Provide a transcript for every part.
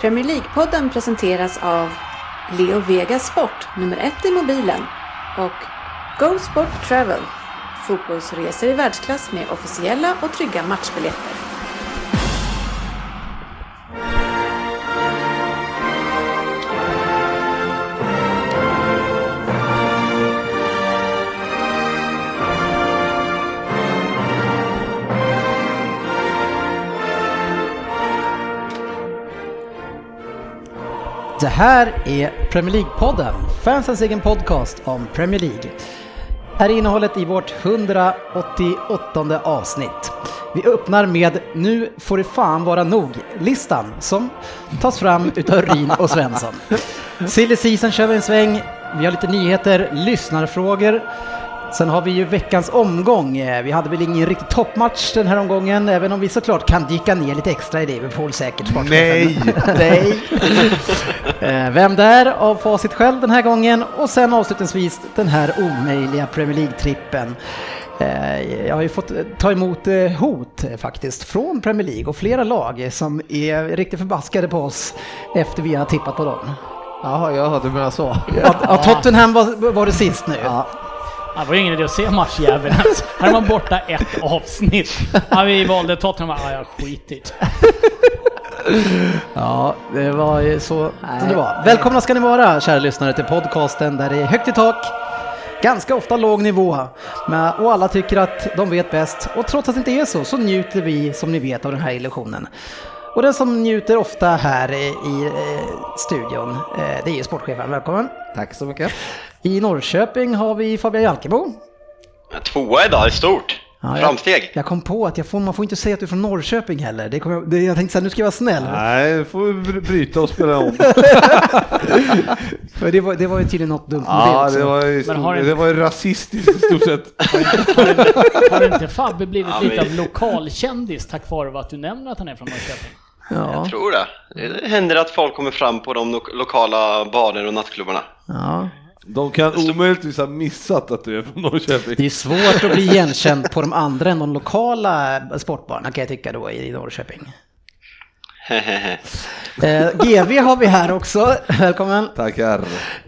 Premier League-podden presenteras av Leo Vega Sport, nummer ett i mobilen och Go Sport Travel, fotbollsresor i världsklass med officiella och trygga matchbiljetter. Det här är Premier League-podden, fansens egen podcast om Premier League. Här är innehållet i vårt 188 avsnitt. Vi öppnar med “Nu får det fan vara nog”-listan som tas fram utav Rin och Svensson. Silly Season kör vi en sväng, vi har lite nyheter, lyssnarfrågor. Sen har vi ju veckans omgång. Eh, Vi hade väl ingen riktig toppmatch den här omgången, även om vi såklart kan dyka ner lite extra i Liverpool säkert. sportchefen. Nej! Eh, Vem där av facit själv den här gången och sen avslutningsvis den här omöjliga Premier League-trippen. Eh, Jag har ju fått eh, ta emot eh, hot eh, faktiskt från Premier League och flera lag eh, som är riktigt förbaskade på oss efter vi har tippat på dem. Jaha, ja, du menar så. Ja, ja, Tottenham var, var det sist nu. Ja, Det var ju ingen idé att se matchjäveln ens. Här var man borta ett avsnitt. Ja, vi valde Tottenham, ja jag skitit. Ja, det var ju så som det var. Välkomna ska ni vara, kära lyssnare, till podcasten där det är högt i tak, ganska ofta låg nivå, men, och alla tycker att de vet bäst. Och trots att det inte är så, så njuter vi, som ni vet, av den här illusionen. Och den som njuter ofta här i, i eh, studion, eh, det är ju sportchefen. Välkommen! Tack så mycket. I Norrköping har vi Fabian Jalkemo. Tvåa idag är stort. Ja, jag, Framsteg. jag kom på att jag får, man får inte säga att du är från Norrköping heller. Det kommer, jag- det, jag tänkte så här, nu ska jag vara snäll. Nej, då får vi bry- bryta och spela om. För det, var, det var ju tydligen något dumt med ja, också. det var, ju stor, Men har det- det... var ju rasistiskt i stort sett. Har inte Fabbe blivit Ja, lite men- av lokalkändis tack vare att du nämner att han är från Norrköping? Ja. Jag tror det. Det händer att folk kommer fram på de lo- lokala barer och nattklubbarna. Ja. De kan omöjligtvis ha missat att du är från Det Norrköping. är svårt att bli igenkänd på de andra än de lokala sportbarerna kan jag tycka då i Norrköping. Eh, GV har vi här också, välkommen. Tackar.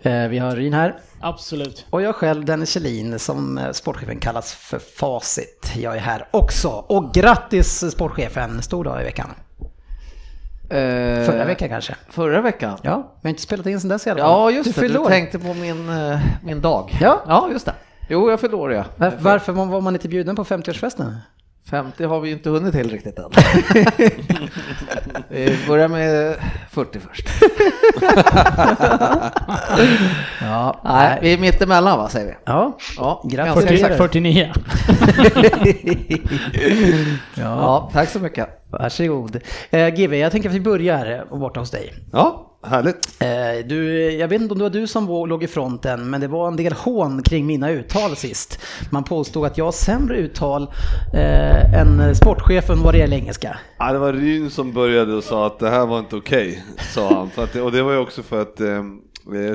Eh, vi har Ryn här. Absolut. Och jag själv, Dennis Kjellin, som eh, sportchefen kallas för Facit. Jag är här också. Och grattis eh, sportchefen, stor dag i veckan. Förra veckan kanske. Förra veckan? Ja, Eh. Ja, vi har inte spelat in sen dess i alla fall. just du det. fyllde Du år. tänkte på min, eh, min dag. Ja. ja, just det. Jo, jag fyllde år ja. Var, varför var man inte bjuden på 50-årsfesten? 50 har vi ju inte hunnit till riktigt än. vi börjar med 40 först. Ja, Nej, vi är mittemellan va, säger vi. Ja, Ja, Grattis. ganska exakt. 49. Ja, tack så mycket. Varsågod. Eh, GV, jag tänker att vi börjar borta hos dig. Ja, härligt. Eh, du, jag vet inte om det var du som vå- låg i fronten, men det var en del hån kring mina uttal sist. Man påstod att jag har sämre uttal eh, än sportchefen vad det gäller engelska. Ja, det var Ryn som började och sa att det här var inte okej, sa han. För att, det- och det var ju också för att eh,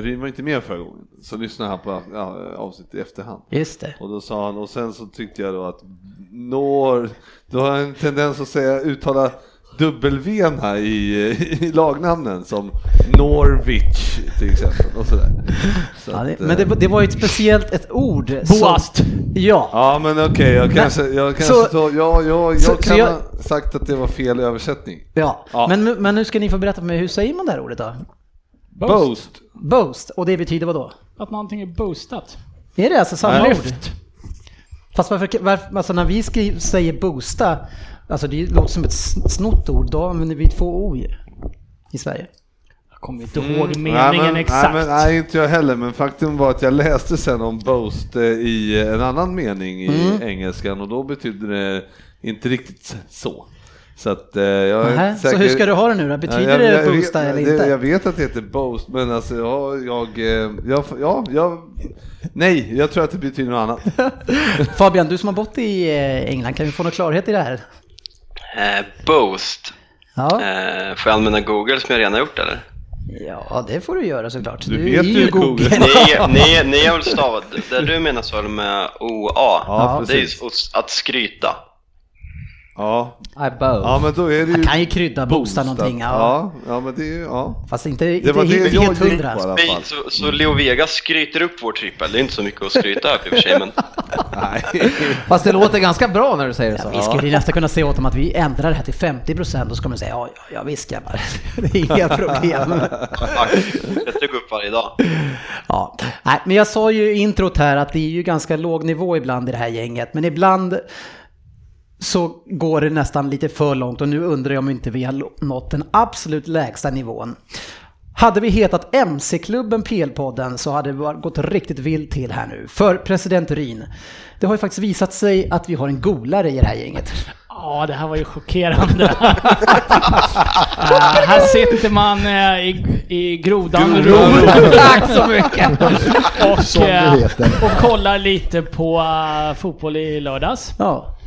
Ryn var inte med förra gången. Så lyssnade han på ja, avsnittet i efterhand. Just det. Och då sa han, och sen så tyckte jag då att når, du har en tendens att säga, uttala W här i, i lagnamnen som Norwich till exempel och sådär. Så Ja, det att, men det, eh, det var ju ett speciellt ett ord. som- Boast. Ja. Ja men okej, jag kanske, jag kanske, så- så, jag, jag, jag så- kan så jag- ha sagt att det var fel översättning. ja. Ja. Men, men nu ska ni få berätta för mig, hur säger man det här ordet då? Boast. Boast, och det betyder vad då? Att någonting är boostat. Är det alltså samma Nej. ord? Fast varför, varför alltså när vi skriver, säger boosta, alltså det låter som ett sn- snott ord, då använder vi två o i- i Sverige. Jag kommer inte ihåg Mm. Nej, meningen men- exakt. Nej, men, nej, inte jag heller, men faktum var att jag läste sen om boast eh, i en annan mening i Mm. engelskan och då betyder det inte riktigt så. Så att eh, jag är Nähä, inte säker... så hur ska du ha det nu då? Betyder Ja, det jag vet- boosta eller det- inte? Jag vet att det heter boast, men alltså jag, jag, eh, jag, ja, jag, nej, jag tror att det betyder något annat. Fabian, du som har bott i eh, England, kan vi få någon klarhet i det här? Eh, Boast. Ja, Eh, får jag använda Google som jag redan har gjort eller? ja det får du göra såklart. Du vet ju Google. Ni, ni, ni har väl stavat det du menar så är det med OA? Ja, det är ju precis. s- att skryta. Ja, Ja, Above. ja men då är det ju... Kan ju krydda, boosta boostat. någonting. Ja. Ja, ja men det är ju... Ja. Fast inte, inte Det var det helt, jag helt gick på i alla hundra. fall. Nej, så, så Leo Vega skryter upp vår trippel. Det är inte så mycket att skryta över i och för sig, men Fast det låter ganska bra när du säger det så. Vi skulle ju nästan kunna säga åt dem att vi ändrar det här till 50 procent och så kommer de säga ja, ja, ja visst grabbar, det är inga problem. fuck, jag tog upp varje dag. Ja. Nej, men jag sa ju i introt här att det är ju ganska låg nivå ibland i det här gänget, men ibland så går det nästan lite för långt och nu undrar jag om inte vi har nått den absolut lägsta nivån. Hade vi hetat MC-klubben PL-podden så hade det var- gått riktigt vilt till här nu. För president Ryn, det har ju faktiskt visat sig att vi har en golare i det här gänget. Ja, det här var ju chockerande. Äh, här sitter man eh, i, i grodan Ro Tack så mycket! och, Som det eh, heter. och kollar lite på eh, fotboll i lördags. Ja,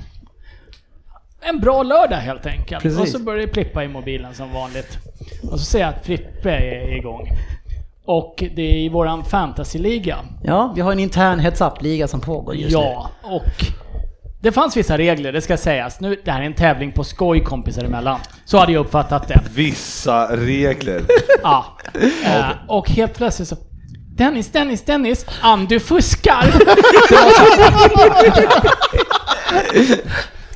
En bra lördag helt enkelt. Precis. Och så börjar det plippa i mobilen som vanligt. Och så ser jag att Frippe är igång. Och det är i våran fantasyliga. ja vi har en intern heads up-liga som pågår just nu. Ja, och det fanns vissa regler, det ska sägas. Nu, det här är en tävling på skoj kompisar emellan. Så hade jag uppfattat det. Vissa regler. Ja. Eh, och helt plötsligt så... Dennis, Dennis, Dennis! Ann, du fuskar! Det var så-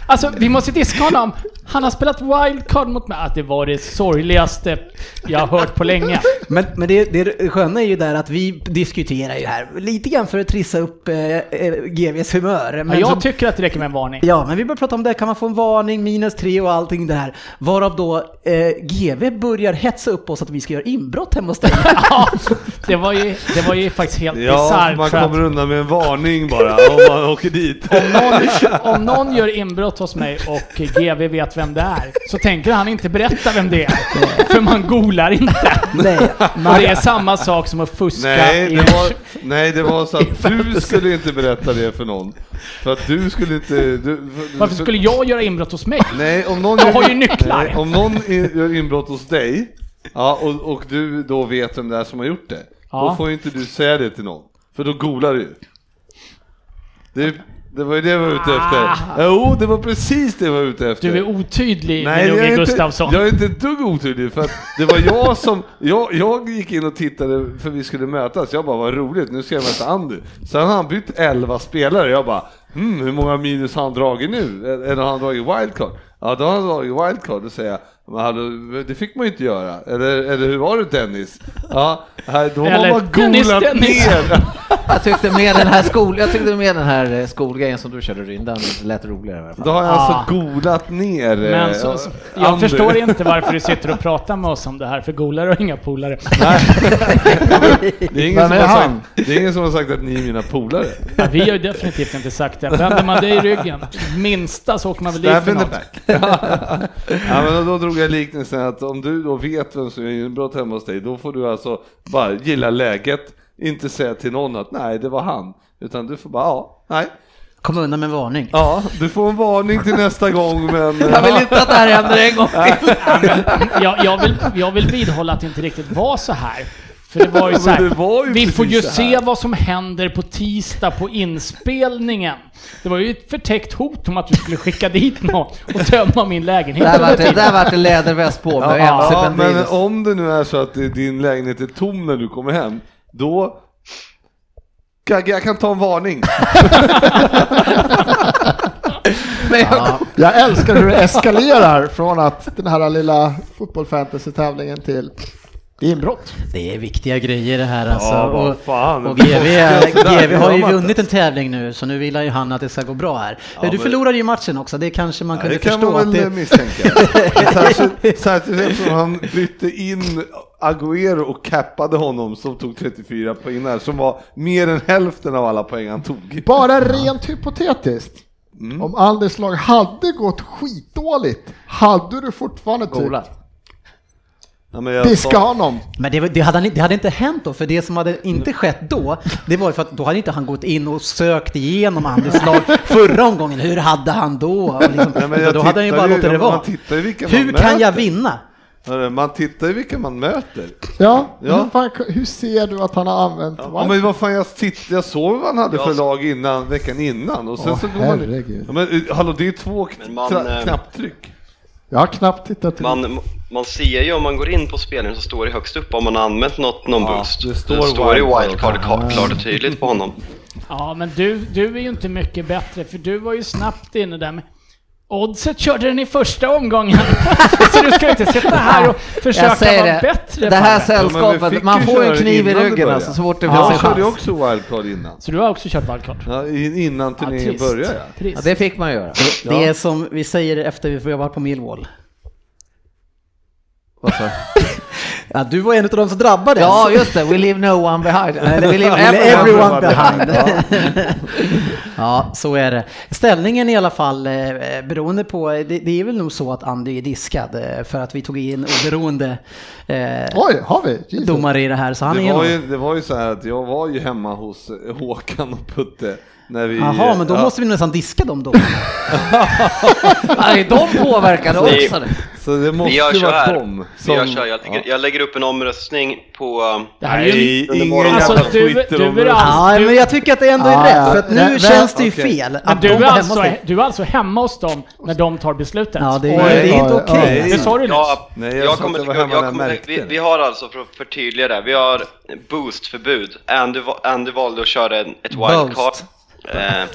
Alltså, vi måste diska honom. Han har spelat wildcard mot mig. Att det var det sorgligaste jag har hört på länge. Men, men det, det sköna är ju där att vi diskuterar ju här, lite grann för att trissa upp eh, eh, GVs humör. Ja, Men jag som- tycker att det räcker med en varning. Ja, men vi börjar prata om det. Kan man få en varning, minus tre och allting det här? Varav då eh, GV börjar hetsa upp oss att vi ska göra inbrott hemma hos dig. Ja, det, var ju, det var ju faktiskt helt Ja, bisarrt. man för att- kommer undan med en varning bara om man åker dit. någon, om någon gör inbrott hos mig och GV vet vem det är, så tänker han inte berätta vem det är. För man golar inte. Nej, Och det är samma sak som att fuska Nej i det, var, nej, det var så att du skulle inte berätta det för någon. För att du skulle inte... Du, för, Varför för- skulle jag göra inbrott hos mig? Nej, om någon Jag har ju nycklar. Nej, om någon i- gör inbrott hos dig, ja, och, och du då vet vem det är som har gjort det, Ja. då får ju inte du säga det till någon. För då golar du ju. det, det var ju det jag var ute efter. Jo, det var precis det jag var ute efter. Ah. Du är otydlig, min jag unge är, Gustafsson. inte, jag är inte ett dugg otydlig för att det var jag som, jag, jag gick in och tittade för vi skulle mötas, jag bara vad roligt, nu ska jag möta Andy. Sen har han bytt 11 spelare, jag bara hmm, hur många minus har han dragit nu? Eller har han dragit wildcard? Ja då har han dragit wildcard, då säger jag men hallå, det fick man ju inte göra, eller, eller hur var det Dennis? Ja, här, då har Eller, man "Dennis, golat Dennis." ner. Jag tyckte med den här, skol, jag tyckte med den här eh, skolgrejen som du körde Ryn, den lät roligare i alla fall. Då har jag Ah. alltså golat ner eh, Men så, så, jag Andy. förstår inte varför du sitter och pratar med oss om det här, för golare och inga polare. Det är, ingen Vem som är har sagt, han? det är ingen som har sagt att ni är mina polare. Ja, vi har ju definitivt inte sagt det. Vänder man dig i ryggen, minsta så åker man väl dit för Stab in the något. back. ja, men då drog jag liknelsen att om du då vet vem som gör inbrott hemma hos dig, då får du alltså bara gilla läget, inte säga till någon att nej, det var han, utan du får bara ja, nej, Kom undan med en varning. ja, du får en varning till nästa gång, men Jag vill inte att det här händer en gång till. jag, jag, vill, jag vill vidhålla att det inte riktigt var så här. För det var ju Men så här, det var ju vi får ju precis så här. se vad som händer på tisdag på inspelningen. Det var ju ett förtäckt hot om att du skulle skicka dit någon och tömma min lägenhet. Där under vart det, tiden. där vart det läderväst på med MC typ ja, men Bandidos. om det nu är så att din lägenhet är tom när du kommer hem, då Gagge, jag kan ta en varning. Men jag- Jag älskar hur det eskalerar från att den här lilla fotbollsfantasy-tävlingen till inbrott. Det är viktiga grejer det här alltså. Ja, vad och, fan. och GV, Sådär, GV har ju gör man vunnit en tävling nu, så nu vill ju han att det ska gå bra här. du men- förlorade ju matchen också, det kanske man Ja, kunde det kan förstå. man väl att det... misstänka. Särskilt- Särskilt eftersom han bytte in Agüero och cappade honom som tog 34 poäng där, som var mer än hälften av alla poäng han tog. Bara rent hypotetiskt. Mm. Om Anders lag hade gått skitdåligt, hade du fortfarande typ Golat. Ja, men jag diska sa- honom? Men det, var- det, hade, han- det hade inte hänt då, för det som hade inte skett då, det var ju för att då hade inte han gått in och sökt igenom Anders lag förra omgången. Hur hade han då? Och liksom, Nej, men jag utan då hade han ju tittar bara ju- låtit det ja, men vara. man tittar ju vilka man Hur kan jag möter. vinna? Hörru, Man tittar ju vilka man möter. Ja, Ja. Hur, fan, hur ser du att han har använt Ja, ja, men vad fan, jag, titt, jag såg vad han hade Ja. för lag innan, veckan innan. Och sen Åh, så går man, herregud. ja, men, eh, hallå, det är två Men man, tra- eh, knapptryck. Jag har knappt tittat. Man... Mm. Man, man ser ju om man går in på spelaren så står det högst upp om man har använt något, någon Ja, boost. det Det står står, i wildcard. Mm. wildcard ka- klart och tydligt på honom. Ja, men du, du är ju inte mycket bättre, för du var ju snabbt inne där med... Oddset körde den i första omgången. så du ska inte sitta här och Jag försöka säger vara det, bättre det här på det. Ja, men vi sällskapet, fick man ju får ju köra en kniv i innan det ryggen började. alltså så fort det Ja, finns en jag körde ju chans. också wildcard innan. Så du har också kört wildcard? Ja, in- innan Ja, turneringen började. trist. Ja, det fick man göra. Det är som vi säger efter vi får jobba på Millwall. Vad sa du? Ja, du var en av de som drabbades. Ja, just det. We leave no one behind. Nej, we leave Leave everyone, everyone behind. behind. ja, så är det. Ställningen i alla fall, eh, beroende på, det, det är väl nog så att Andy är diskad eh, för att vi tog in oberoende eh, Oj, har vi? Jesus. domare i det här. Så han Det är var, nog- ju, det var ju så här att jag var ju hemma hos eh, Håkan och Putte när vi... Jaha, men då ja, måste vi nästan diska dem då. Nej, de påverkade Det- också. det. Så det Vi måste gör ju så vara här. dem Vi gör så här. Jag, lägger, jag lägger upp en omröstning på... um, Det här är ju Nej, under ingen morgonen. jävla Alltså, du- Twitter du om är det. all- Ja, men jag tycker att det ändå är Ja, rätt, för att ja, nu ja, känns det ju okej. fel. Men Att du de är, var hemma alltså, hos dig. du är alltså hemma hos dem när de tar beslutet? Ja, det, Och- är- det är inte Oj, oj, okej. oj. Nej. Det sa du nyss. Ja, Nej, jag jag, sa att kommer, jag jag var hemma när jag kommer, märkte vi, det. vi har alltså, för att förtydliga det, här, vi har boostförbud. Andy, va- Andy valde att köra en, ett wildcard. Boost. Eh,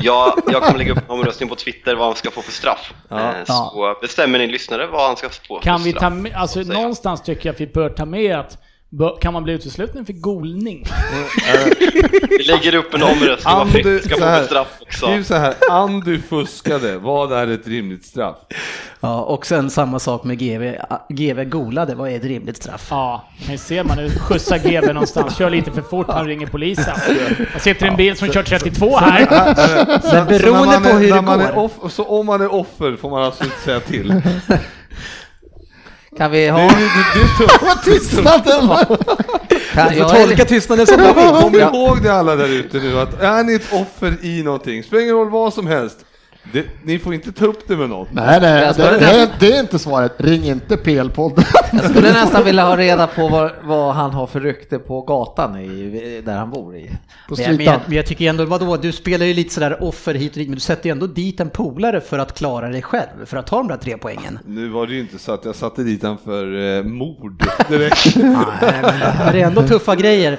jag, jag kommer lägga upp en omröstning på Twitter vad han ska få för straff. eh, Ja. så bestämmer ni lyssnare vad han ska få Kan för vi straff. ta med, alltså säger jag. någonstans tycker jag att vi bör ta med att bör- kan man bli utesluten för golning? Vi lägger upp en omröstning vad Andy, Frick ska så få för här, straff också. skriv så här, Andy fuskade, var det här ett rimligt straff? Ja, och sen samma sak med Ah, GV. GV golade, vad är ett rimligt straff? Ja, men ser man nu skjutsar GV någonstans, kör lite för fort, han ringer polisen. Jag sitter i en bil som kör 32 här. Så, beroende när man på är, hur det när man går. Är off, så om man är offer får man alltså inte säga till. Det Kan vi är, ha... ju- det, det är tufft. Vad tystnad det var! Kan, Du får jag är tolka lite- tystnaden som du Kom vill. ihåg det alla där ute nu att är ni ett offer i någonting, spelar ingen roll vad som helst, det, ni får inte ta upp det med någon. Nej, nej, Jag ska- det, det, det är inte svaret. Ring inte PL-podden. jag skulle nästan vilja ha reda på vad, vad han har för rykte på gatan i, där han bor i. På Men jag, men, jag, streetan. men jag tycker ändå, vadå, du spelar ju lite sådär offer hit och dit, men du sätter ju ändå dit en polare för att klara dig själv, för att ta de där tre poängen. Nu var det ju inte så att jag satte dit han för eh, mord direkt. Nej, men det här är ändå tuffa grejer,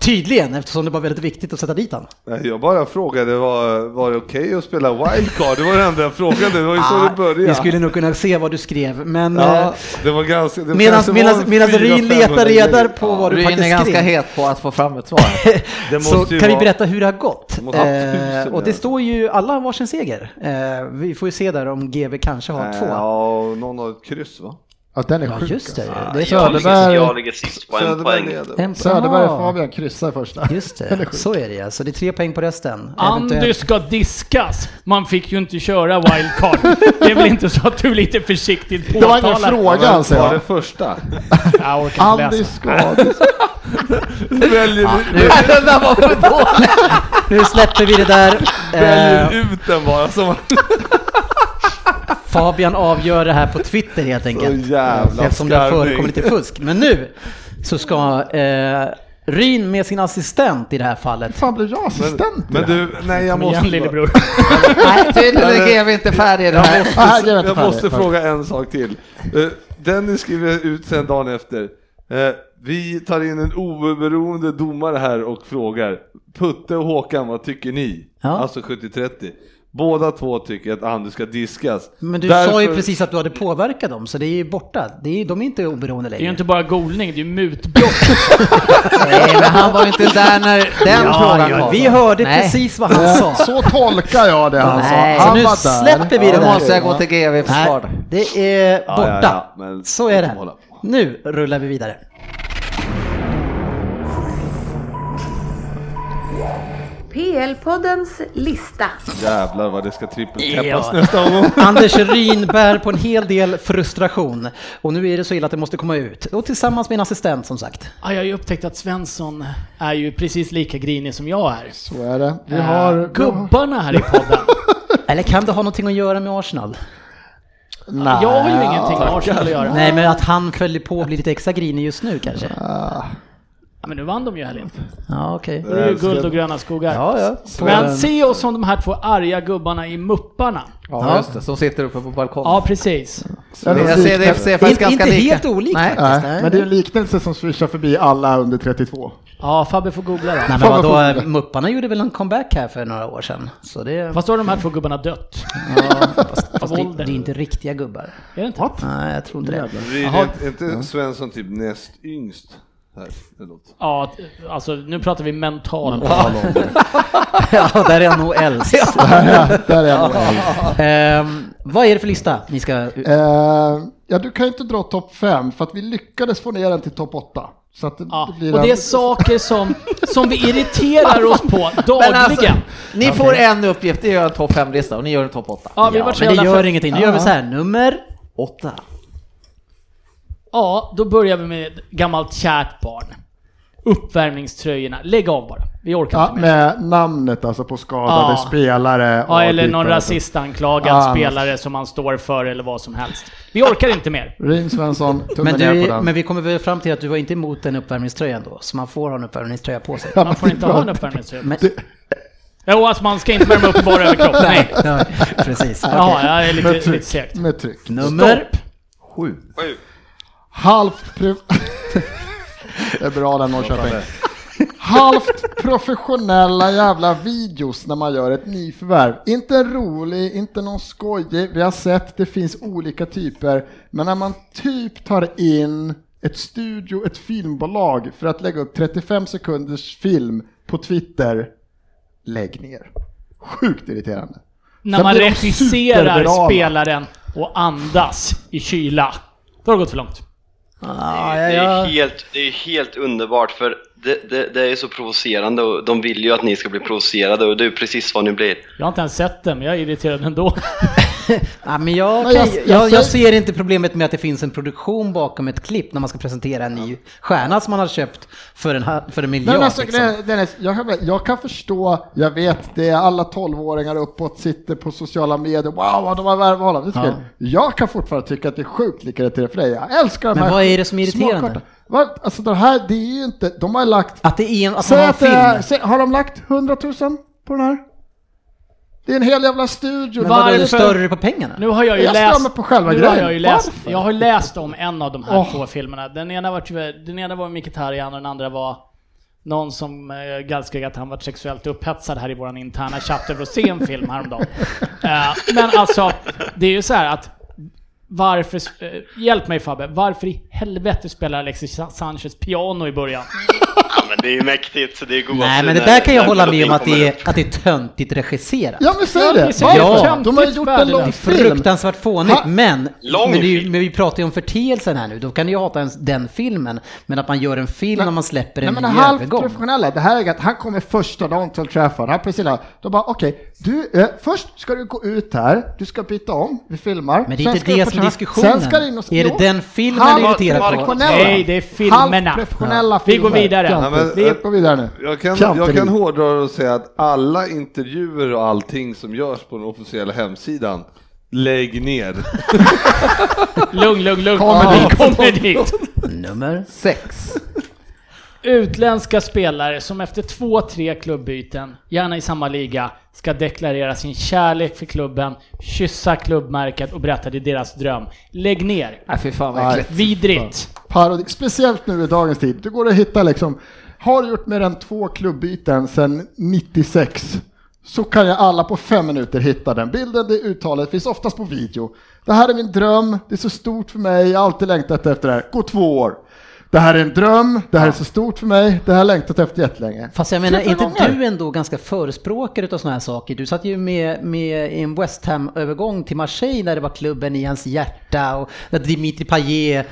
tydligen, eftersom det var väldigt viktigt att sätta dit han. Nej, jag bara frågade, var, var det okej att spela wildcard? Det var det enda jag frågade, det var ju så Ah, det började. vi skulle nog kunna se vad du skrev, men Ja, eh, det var ganska... det medan, kanske var medan, en medan fyra, Rin letar 500 reda grejer. på vad Du du är inne faktiskt ganska skrev. het på att få fram ett svar. Det så måste ju kan vi vara- berätta hur det har gått. måste ha Eh, tusen och det alltså. står ju, alla har varsin seger. Eh, vi får ju se där om GB kanske har Nej, två. Ja, Eh, Ja, och någon har ett kryss va? Ja, den är sjuk. just det. Ja, det är jag, ligger, Söderberg. jag ligger sist på en Söderberg poäng. leder. en- alltså. Söderberg och Aha. Fabian kryssar i första. Just Den är det, sjuk. så är det ja. Så det är tre poäng på resten. Andy Eventuellt- ska diskas. Man fick ju inte köra wildcard. Det är väl inte så att du lite försiktigt Det var påtalar... ingen fråga Vem alltså. tar det jag. första? Jag orkar inte Andy läsa. Skadi. Väljer, du, Den där var för dålig! Nu släpper vi det där. Eh, väljer ut den bara som Fabian avgör det här på Twitter helt så enkelt. jävla Eftersom det har förekommit skarvig. lite fusk. Men nu så ska eh, Ryn med sin assistent i det här fallet. fan blir jag assistent i Men det här? du, nej jag Kom igen måste... bara- lillebror. Nej, Tydligen är GW inte färdig i det här. Ah, här, jag vet Jag inte måste fan. fråga en sak till. Eh, Dennis skriver ut sen dagen efter. eh, Vi tar in en oberoende domare här och frågar Putte och Håkan, vad tycker ni? Ja. Alltså 70-30. Båda två tycker att Anders ska diskas. Men du sa ju precis att du hade påverkat dem, så det är ju borta. Det är, de är inte oberoende Det är ju längre. inte bara golning, det är ju mutbrott. Nej, men han var ju inte där när den Ja, frågan ja, kom. vi hörde Nej. precis vad han sa. Så tolkar jag det alltså. Nej. Han Så nu var där. släpper vi Ja, det Då där. måste jag gå till GW för Nej, svar. det är Ja, borta. ja, ja, men Så är låt dem det. hålla Nu rullar vi vidare. PL-poddens lista. Jävlar vad det ska trippeltäppas Ja. nästa gång. Anders Ryn bär på en hel del frustration och nu är det så illa att det måste komma ut. Och tillsammans med en assistent som sagt. Ja, jag har ju upptäckt att Svensson är ju precis lika grinig som jag är. Eh, Så är det. Äh, Vi har... Gubbarna här i podden. Eller kan det ha någonting att göra med Arsenal? Nej. Jag har ju ingenting med Arsenal att göra. Nej, men att han följer på och blir lite extra grinig just nu kanske. Ja, men nu vann de ju helgen. Ja, okej. Det är ju guld och gröna skogar. Ja, ja. Så- Men se oss som de här två arga gubbarna i Mupparna. Ja, just det. Som sitter uppe på balkongen. Ja, precis. jag ser det, jag ser faktiskt Inte, ganska inte lika. helt olikt Nej. faktiskt. Nej, men det är en liknelse som svischar förbi alla under 32. Ja, Fabbe får googla det. Nej men vadå, Mupparna gjorde väl en comeback här för några år sedan. Så det, Fast då har de här två gubbarna dött. ja, fast, fast det, det åldern. är inte riktiga gubbar. Är det inte? Nej, jag tror inte det. Blir Jaha. inte, är inte Svensson typ näst yngst? Här, eller något. Ja, alltså nu pratar vi mental Ja, där är jag nog äldst. Där är jag. nog. Ehm, vad är det för lista ni ska... Eh, ja, du kan ju inte dra topp 5 för att vi lyckades få ner den till topp 8. Så att det, alltså- Ja, blir och en... det är saker som, som vi irriterar oss på Men alltså, dagligen. ni får en uppgift, det är att göra en topp 5-lista och ni gör en topp 8. Ja, vi Ja, var så men det jävla gör för... ingenting. Nu gör vi så här, nummer... 8. Ja, då börjar vi med ett gammalt kärt barn. Uppvärmningströjorna. Lägg av bara. Vi orkar ja, inte mer. med namnet alltså på skadade Ja. spelare. Ja, och typ eller någon typer. rasistanklagad Ja, men- spelare som man står för eller vad som helst. Vi orkar inte mer. Rin Svensson, tummen Men, ner på du, den. men vi kommer väl fram till att du var inte emot den uppvärmningströjan då, så man får ha en uppvärmningströja på sig. Man får det är inte bra. ha en uppvärmningströja. Men, Jo, alltså man ska inte värma upp bara överkropp. Nej. Ja, precis. Jaha, jag är lite, Med tryck. lite segt. Med tryck. Nummer... Sju. Halvt... Pro... det är bra den Norrköping. Halvt professionella jävla videos när man gör ett nyförvärv. Inte en rolig, inte någon skojig. Vi har sett, det finns olika typer. Men när man typ tar in ett studio, ett filmbolag för att lägga upp 35 sekunders film på Twitter. Lägg ner. Sjukt irriterande. När Sen man blir de regisserar supervirala. spelaren och andas i kyla. Då har det gått för långt. Ah, ja, Det är ja. ju helt, det är ju helt underbart för det, det, det är ju så provocerande och de vill ju att ni ska bli provocerade och det är ju precis vad ni blir. Jag har inte ens sett den, men jag är irriterad ändå. Ja, men jag, Men jag- kan- jag jag, jag säger- ser inte problemet med att det finns en produktion bakom ett klipp när man ska presentera en ny stjärna som man har köpt för en, ha- för en Nej, miljard. men alltså, liksom. grejen- Dennis, jag, kan- jag kan förstå, jag vet, det är alla 12-åringar uppåt sitter på sociala medier, wow vad de har värvat honom. Det är Ja. kul. Jag kan fortfarande tycka att det är sjukt lika irriterande för dig. Jag älskar de Men här vad är det som är irriterande? småkorta. Va? Alltså det här, det är ju inte, de har lagt, Att det är en, att man säg har en att det är, film. säg, har de lagt 100 000 på den här? Det är en hel jävla studio. Men vadå, är du Varför- större på pengarna? Nu har jag ju Jag läst... stämmer på själva nu Har grejen. jag, ju läst Varför? jag har läst om en av de här Åh. två filmerna. Den ena var, tyvärr- den ena var Micke Tarjan och den andra var någon som eh, gallskrek att han var sexuellt upphetsad här i våran interna chatt över att se en film häromdagen. Eh, men alltså, det är ju så här att varför, eh, hjälp mig Fabbe, varför i helvete spelar Alexis Sa- Sanchez piano i början? Ja men det är ju mäktigt så det är gåshud. Nej, men det när- där kan jag när hålla med om att melodin det kommer är, att det är töntigt regisserat. Ja men säg Ja, det! det är så Varför? jävla De har ju gjort en lång töntigt film. Fruktansvärt fånigt, Ha- men, Lång men, det är ju, film. men vi pratar ju om förteelsen här nu. Då kan du ju hata ens den filmen, men att man gör en film när man släpper en Nej, men ny halvt övergång. professionella. Det här är att han kommer första dagen till Trafford. Han precis där. Då bara okej, du, eh, först ska du gå ut här, du ska byta om, vi filmar. Men det är Sen inte ska du det på som är Trafford. diskussionen. Sen ska du in och... Är det Jo, den filmen du är halvt irriterad på? professionella. Nej, det är filmerna. Halvt professionella Ja. Vi går filmer. vidare. Fjantigt. Ja, men- vi går vidare nu. Jag kan, Fjantigt. jag kan hårdra och säga att alla intervjuer och allting som görs på den officiella hemsidan, lägg ner. Lugn, lugn, lugn. Kommer vi dit. kommer dit. Nummer? 6. Utländska spelare som efter två, tre klubbyten, gärna i samma liga, ska deklarera sin kärlek för klubben, kyssa klubbmärket och berätta det är deras dröm. Lägg ner! Äh, Nej, fy fan vad äckligt. Vidrigt! Parodi. Speciellt nu i dagens tid. Det går att hitta liksom, har du gjort mer än två klubbyten sedan 96 så kan jag alla på fem minuter hitta den bilden, det uttalet finns oftast på video. Det här är min dröm, det är så stort för mig, jag har alltid längtat efter det här. Gå två år. Det här är en dröm, det här är så stort för mig, det här har jag längtat efter jättelänge. Fast jag menar, är Tusen inte gånger. du ändå ganska förespråkare utav sådana här saker? Du satt ju med, med i en West Ham-övergång till Marseille när det var klubben i hans hjärta och när Dimitri Payet.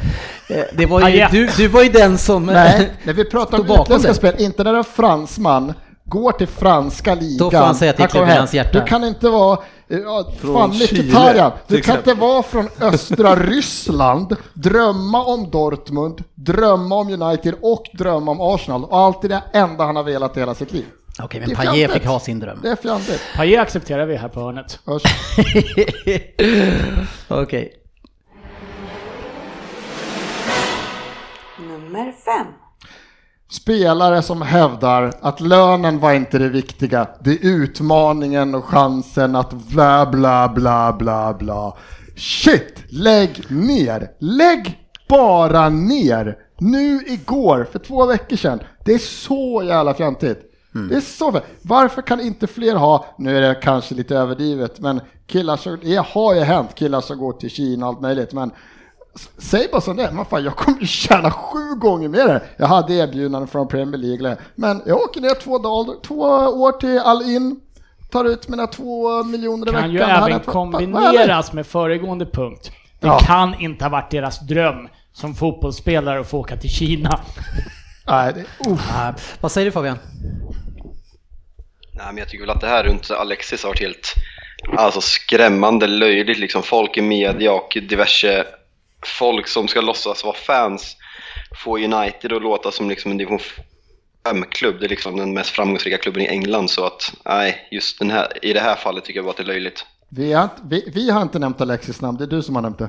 eh, Det var ju, Payet. du, du var ju den som... Nej, när vi pratar Stå om bakom utländska det. spel, inte när en fransman går till franska ligan. Då får han säga att det är kommer klubben i hem. hans hjärta. Du kan inte vara, eh, ja, Från fan Chile, Mkhitaryan. Du till kan exempel. inte vara från östra Ryssland, drömma om Dortmund, drömma om United och drömma om Arsenal. Och allt är det enda han har velat i hela sitt liv. Okej, Det men är Payet fjantigt. fick ha sin dröm. Det är fjantigt. Pajé accepterar vi här på hörnet. Hörs. Okej. Nummer fem. Spelare som hävdar att lönen var inte det viktiga. Det är utmaningen och chansen att bla bla bla bla bla. Shit! Lägg ner! Lägg bara ner! Nu igår, för två veckor sedan. Det är så jävla fjantigt. Det är så fjantigt. Varför kan inte fler ha, nu är det kanske lite överdrivet, men killar som, det har ju hänt, killar som går till Kina och allt möjligt, men S- Säg bara som det är, men fan, jag kommer ju tjäna sju gånger mer. här. Jag hade erbjudanden från Premier League, men jag åker ner två, dagar, två år till all in, tar ut mina två miljoner i kan veckan. ju här är även ett- vad är det? kombineras med föregående punkt. Det Ja. kan inte ha varit deras dröm som fotbollsspelare att få åka till Kina. Nej, det, uff. Nej. Ah, Vad säger du Fabian? Nej, men jag tycker väl att det här runt Alexis har varit helt alltså, skrämmande löjligt. Liksom, folk i media och diverse folk som ska låtsas vara fans får United att låta som liksom en division 5-klubb. Det är liksom den mest framgångsrika klubben i England. Så att, nej, just den här, i det här fallet tycker jag bara att det är löjligt. vi, har inte, vi, vi har inte nämnt Alexis namn, det är du som har nämnt det.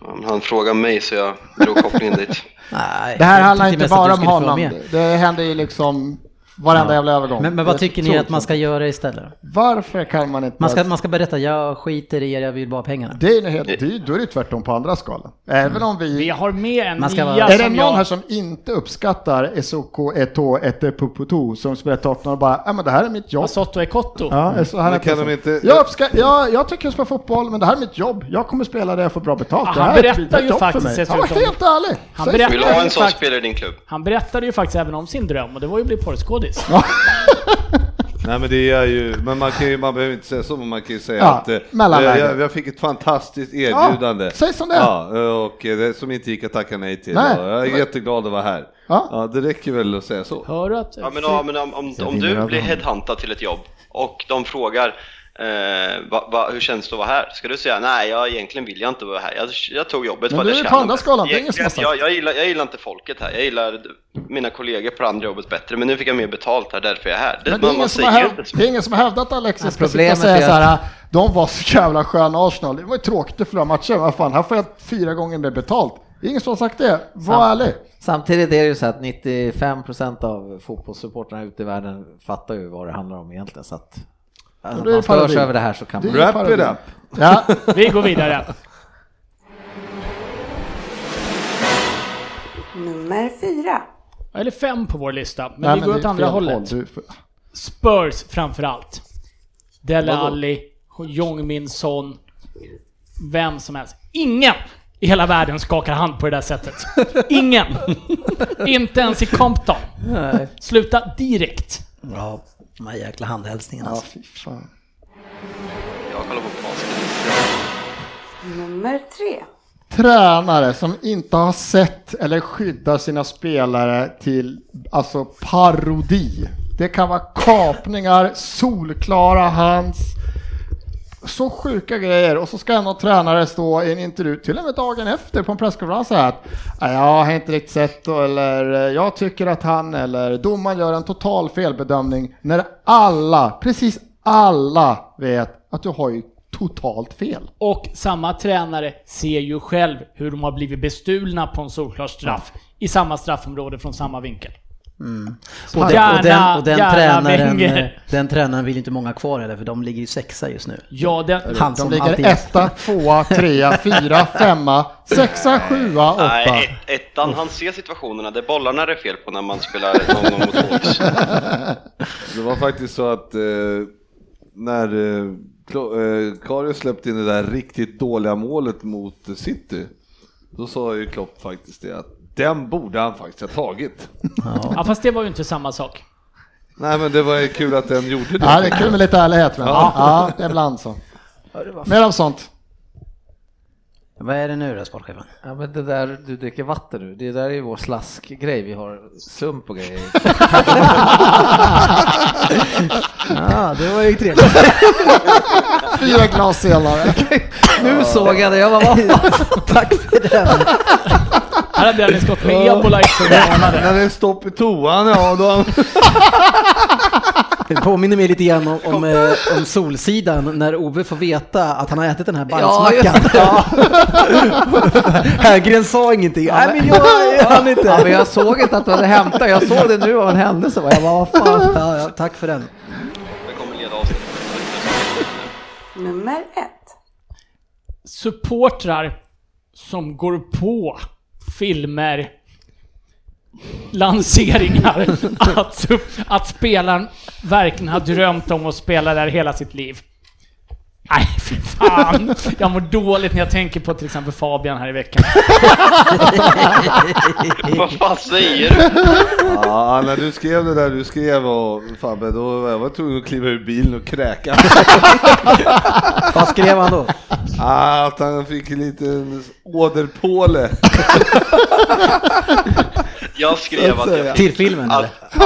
Ja, men Han frågar mig så jag drog kopplingen dit. Nej, Det här jag handlar tyckte inte mest att bara du om skulle få vara honom, med. det det händer ju liksom varenda jävla övergång. Men, men vad Det tycker ni tror att man jag. ska göra istället? Varför kan man inte... Man ska, man ska berätta, jag skiter i er, jag vill bara ha pengarna. Det är ju helt, det, är ju- då är det tvärtom på andra skalan. Även om Vi har med en Man ska vara- nia Är det som någon jag... här som inte uppskattar Esoko Eto Ete Puputu som spelar Tottenham och bara ja men det här är mitt jobb. Masato Ekotto. Ja, så här Men är kan det. de inte- jag, uppskatt, jag, jag tycker jag spelar fotboll, men det här är mitt jobb. Jag kommer spela där jag får bra betalt. Ja, det Ah, han här är ett berättar bidrag ju jobb för faktiskt mig. dessutom- Han var helt ärlig. Han Säg så. berättar- Vill du ha en sån Exakt. spelare i din klubb? Han berättade ju faktiskt även om sin dröm och det var ju att bli porrskådis. Nej men det är ju, men man, kan ju, man behöver inte säga så, men man kan ju säga Ja, att eh, mellanläge. jag, jag, jag fick ett fantastiskt erbjudande. Ja, säg som det är. Ja, eh, och eh, det, som inte gick att tacka nej till. Nej. Och Jag är jätteglad att vara här. Ja. det räcker väl att säga så. Hör du att... Ja, men, ja, men om, om, om du blir headhuntad till ett jobb och de frågar eh, va, va, hur känns det att vara här? Ska du säga nej, jag egentligen vill jag inte vara här. Jag, jag tog jobbet Men för att du jag är på tjänar andra bäst." skalan, det är ingen som Egentligen, har sagt. jag, jag, gillar, jag gillar inte folket här. Jag gillar d- mina kollegor på andra jobbet bättre. Men nu fick jag mer betalt här, därför är jag här. Det, Men det, man, man är ingen som har säger hävdat, inte så. det är ingen som har hävdat att Alexis ska sitta och problemet säga är så att- här. De var så jävla sköna Arsenal. Det var ju tråkigt att förlora matchen. Vad fan, här får jag fyra gånger mer betalt. Det är ingen som har sagt det. Var Ja. ärlig. Samtidigt är det ju så att 95% av fotbollssupportrarna ute i världen fattar ju vad det handlar om egentligen. Så att alltså, då om är man det parodi. störs över det här så kan Det är man... ju Wrap it parodi. up. Ja, Vi går vidare. Nummer fyra. Eller fem på vår lista, men Nej, vi går det åt är andra fel hållet. håll. Du får- Spurs framförallt. Dele Alli, Jong-Min Son, vem som helst. Ingen i hela världen skakar hand på det där sättet. Ingen! Inte ens i Compton. Sluta direkt. Ja, de här jäkla handhälsningarna Ja, alltså. fy fan. Jag kollar på basket. Nummer tre. Tränare som inte har sett eller skyddar sina spelare till alltså parodi. Det kan vara kapningar, solklara hands. Så sjuka grejer och så ska en av tränare stå i en intervju, till och med dagen efter på en presskonferens så här att "Nej, jag har inte riktigt sett då, eller eh, jag tycker att han eller domaren gör en total felbedömning när alla, precis alla vet att du har ju totalt fel. Och samma tränare ser ju själv hur de har blivit bestulna på en solklar straff i samma straffområde från samma vinkel. Mm. Och den, Gärna- och den, och den, gärna tränaren, Wenger. eh, den tränaren vill inte många kvar heller, för de ligger ju sexa just nu. Ja, den, Han De som ligger alltid... etta, tvåa, trea, fyra, femma, sexa, sjua, åtta. Nej, ett, ettan, han ser situationerna där bollarna är fel på när man spelar någon gång mot Wolves. Det var faktiskt så att eh, när eh, Klo- eh, Karius släppte in det där riktigt dåliga målet mot City, då sa ju Klopp faktiskt det att den borde han faktiskt ha tagit. ja, fast det var ju inte samma sak. Nej men det var ju kul att den gjorde det. Ja, det är kul med lite ärlighet. Men. Ja. det är ibland så. Mer av sånt. Vad är det nu då, sportchefen? Ja men det där, du dricker vatten nu, det där är ju vår slaskgrej, vi har sump och grejer. Ja, det var ju trevligt. Fyra glas senare. nu såg jag det, jag bara, vad fan? Tack för den. Här har Dennis gått med ebola i sju månader. När det är stopp i toan, ja då... Det påminner mig lite grann om, om, eh, om Solsidan när Ove får veta att han har ätit den här bajsmackan. Ja, Hergren sa ingenting. Nej, men jag, jag hann inte. Ja, men jag såg inte att du hade hämtat, jag såg det nu av en händelse. Jag bara, vad fan. Ja, ja, tack för den. Jag kommer leda avsnittet. Nummer ett. supportrar som går på filmer, lanseringar, att, att spelaren verkligen har drömt om att spela där hela sitt liv. Nej, fy fan. Jag mår dåligt när jag tänker på till exempel Fabian här i veckan. Vad fan säger du? Ja, när du skrev det där du skrev och Fabbe, då var jag tvungen att kliva ur bilen och kräka. Vad skrev han då? Ah, att han fick en liten åderpåle. Jag skrev att jag... Till filmen eller? Att, Nej,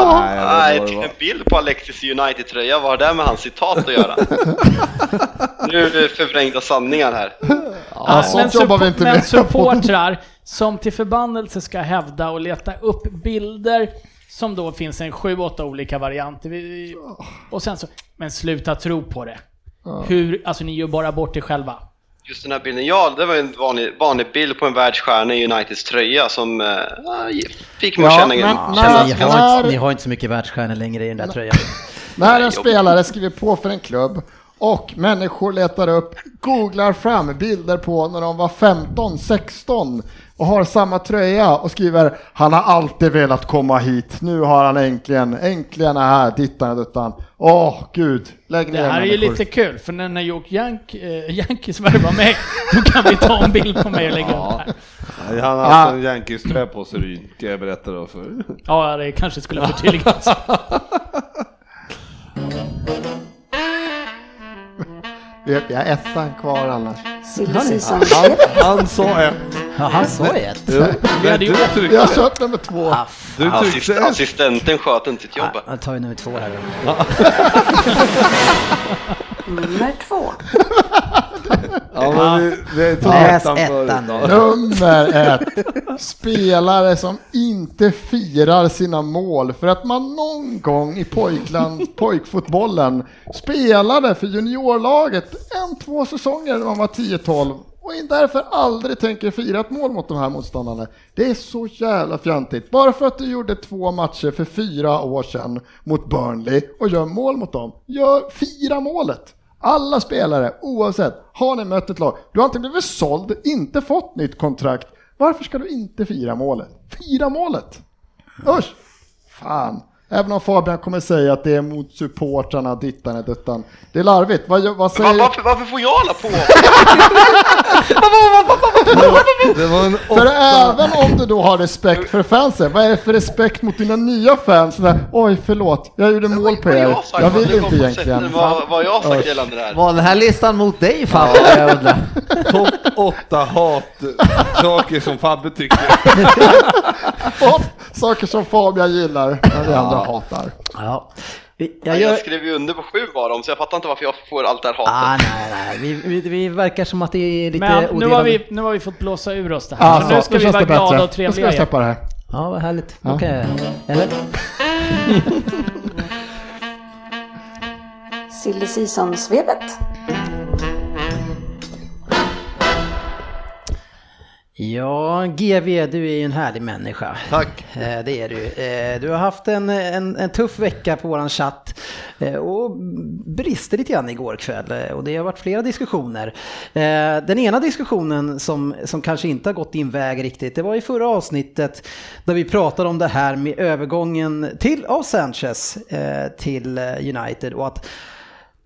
jag vet inte Nej, vad det var. en bild på Alexis United-tröja, vad har det med hans citat att göra? Nu är det förvrängda sanningar här. Ja, sånt jobbar vi inte men med. supportrar som till förbannelse ska hävda och leta upp bilder som då finns en 7-8 olika varianter. Vi- Oh. Och sen så, men sluta tro på det. Hur, alltså ni gör bara bort er själva. Just den här bilden, ja det var ju en vanlig, vanlig bild på en världsstjärna i Uniteds tröja som eh, fick mig att Ja, känna, men- känna men- Alltså, Ni har, inte, ni har inte så mycket världsstjärnor längre i den där tröjan. När en jobbigt. spelare skriver på för en klubb och människor letar upp, googlar fram bilder på när de var 15, 16 och har samma tröja och skriver han har alltid velat komma hit, nu har han äntligen, äntligen är här, dittan och duttan. Åh gud, lägg ner Det här är ju människor. lite kul, för när när New York Yank, eh, Yankees värvar mig, då kan vi ta en bild på mig och lägga upp här. Nej, Han har haft en Yankees-tröja på sig, Ryn, kan jag berätta då för. Ja, det kanske skulle förtydligas. Vi har- vi har ettan kvar annars. Silly Season. Han, han sa ett. Ja, han sa ju ett. Jo, men hade du ju- Vi har tryckte, kört nummer två. du Assist, tryckte ett. assistenten sköt inte sitt jobb. Jag tar ju nummer två här. då. Nummer två. Ja, men vi, vi tog Läs ettan förut. ettan nu. Nummer ett. Spelare som inte firar sina mål för att man någon gång i pojkland, pojkfotbollen spelade för juniorlaget en, två säsonger när man var 10-12 och därför aldrig tänker fira ett mål mot de här motståndarna. Det är så jävla fjantigt. Bara för att du gjorde två matcher för fyra år sedan mot Burnley och gör mål mot dem, gör, fira målet! Alla spelare, oavsett, har ni mött ett lag, du har inte blivit såld, inte fått nytt kontrakt. Varför ska du inte fira målet? Fira målet! Usch! Fan. Även om Fabian kommer säga att det är mot supportrarna, dittan och duttan. Det är larvigt. Vad, gör- vad Va, säger... varför, varför får jag alla på? Det var en För åtta. även om du då har respekt för fansen, vad är det för respekt mot dina nya fans? Sådär, Oj, förlåt, jag gjorde mål på Vad har er. sagt? Jag vill Du inte kommer på egentligen. sätt- Vad vad har jag sagt gällande det här? Var den här listan mot dig Fabbe? Jag undrar. Topp åtta hat-saker som Fabbe tycker. Fan, Saker som Fabian gillar, men vi andra hatar. Ja. Vi- Jag, Jag gör... skrev ju under på sju av dem, så jag fattar inte varför jag får allt det här hatet. Ah, nej, nej. Vi, vi, vi verkar som att det är lite Men nu har, odelade- vi, nu har vi fått blåsa ur oss det här, Ah, så alltså, nu ska vi känns vara det bättre. glada och Nu ska trevliga vi igen. släppa det här. Ja, vad härligt. Då kan jag... Eller? Silly Season-svepet. Ja, GV, du är ju en härlig människa. Tack. Eh, Det är du. Eh, Du har haft en, en, en tuff vecka på våran chatt eh, och brister lite grann igår kväll eh, och det har varit flera diskussioner. Eh, Den ena diskussionen som, som kanske inte har gått din väg riktigt, det var i förra avsnittet där vi pratade om det här med övergången till, av Sanchez eh, till eh, United och att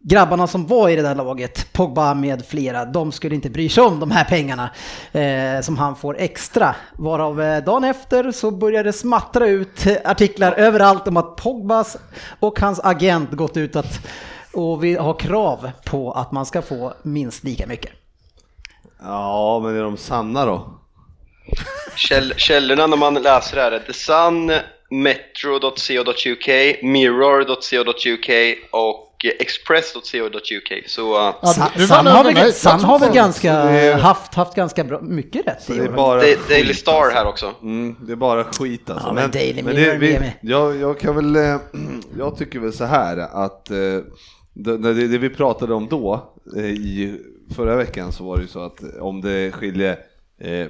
grabbarna som var i det där laget, Pogba med flera, de skulle inte bry sig om de här pengarna eh, som han får extra. Varav eh, dagen efter så började det smattra ut eh, artiklar överallt om att Pogbas och hans agent gått ut att och vi har krav på att man ska få minst lika mycket. Ja, men är de sanna då? Käll, källorna när man läser det här är The Sun, Metro.co.uk, Mirror.co.uk och och eh, express.co.uk. Så eh, Ja, Sam, du Sam vann har över mig. väl, Sam Jag har väl trodde- ganska, Så det är- haft, haft ganska bra, mycket rätt i Det är år. bara Da- skit, Daily Star alltså. här också. Mm, det är bara skit alltså. Ja, men Daily det, Mirror är med. jag, jag kan väl, eh, jag tycker väl så här att eh, det, när det, det vi pratade om då eh, i förra veckan så var det ju så att om det skiljer eh,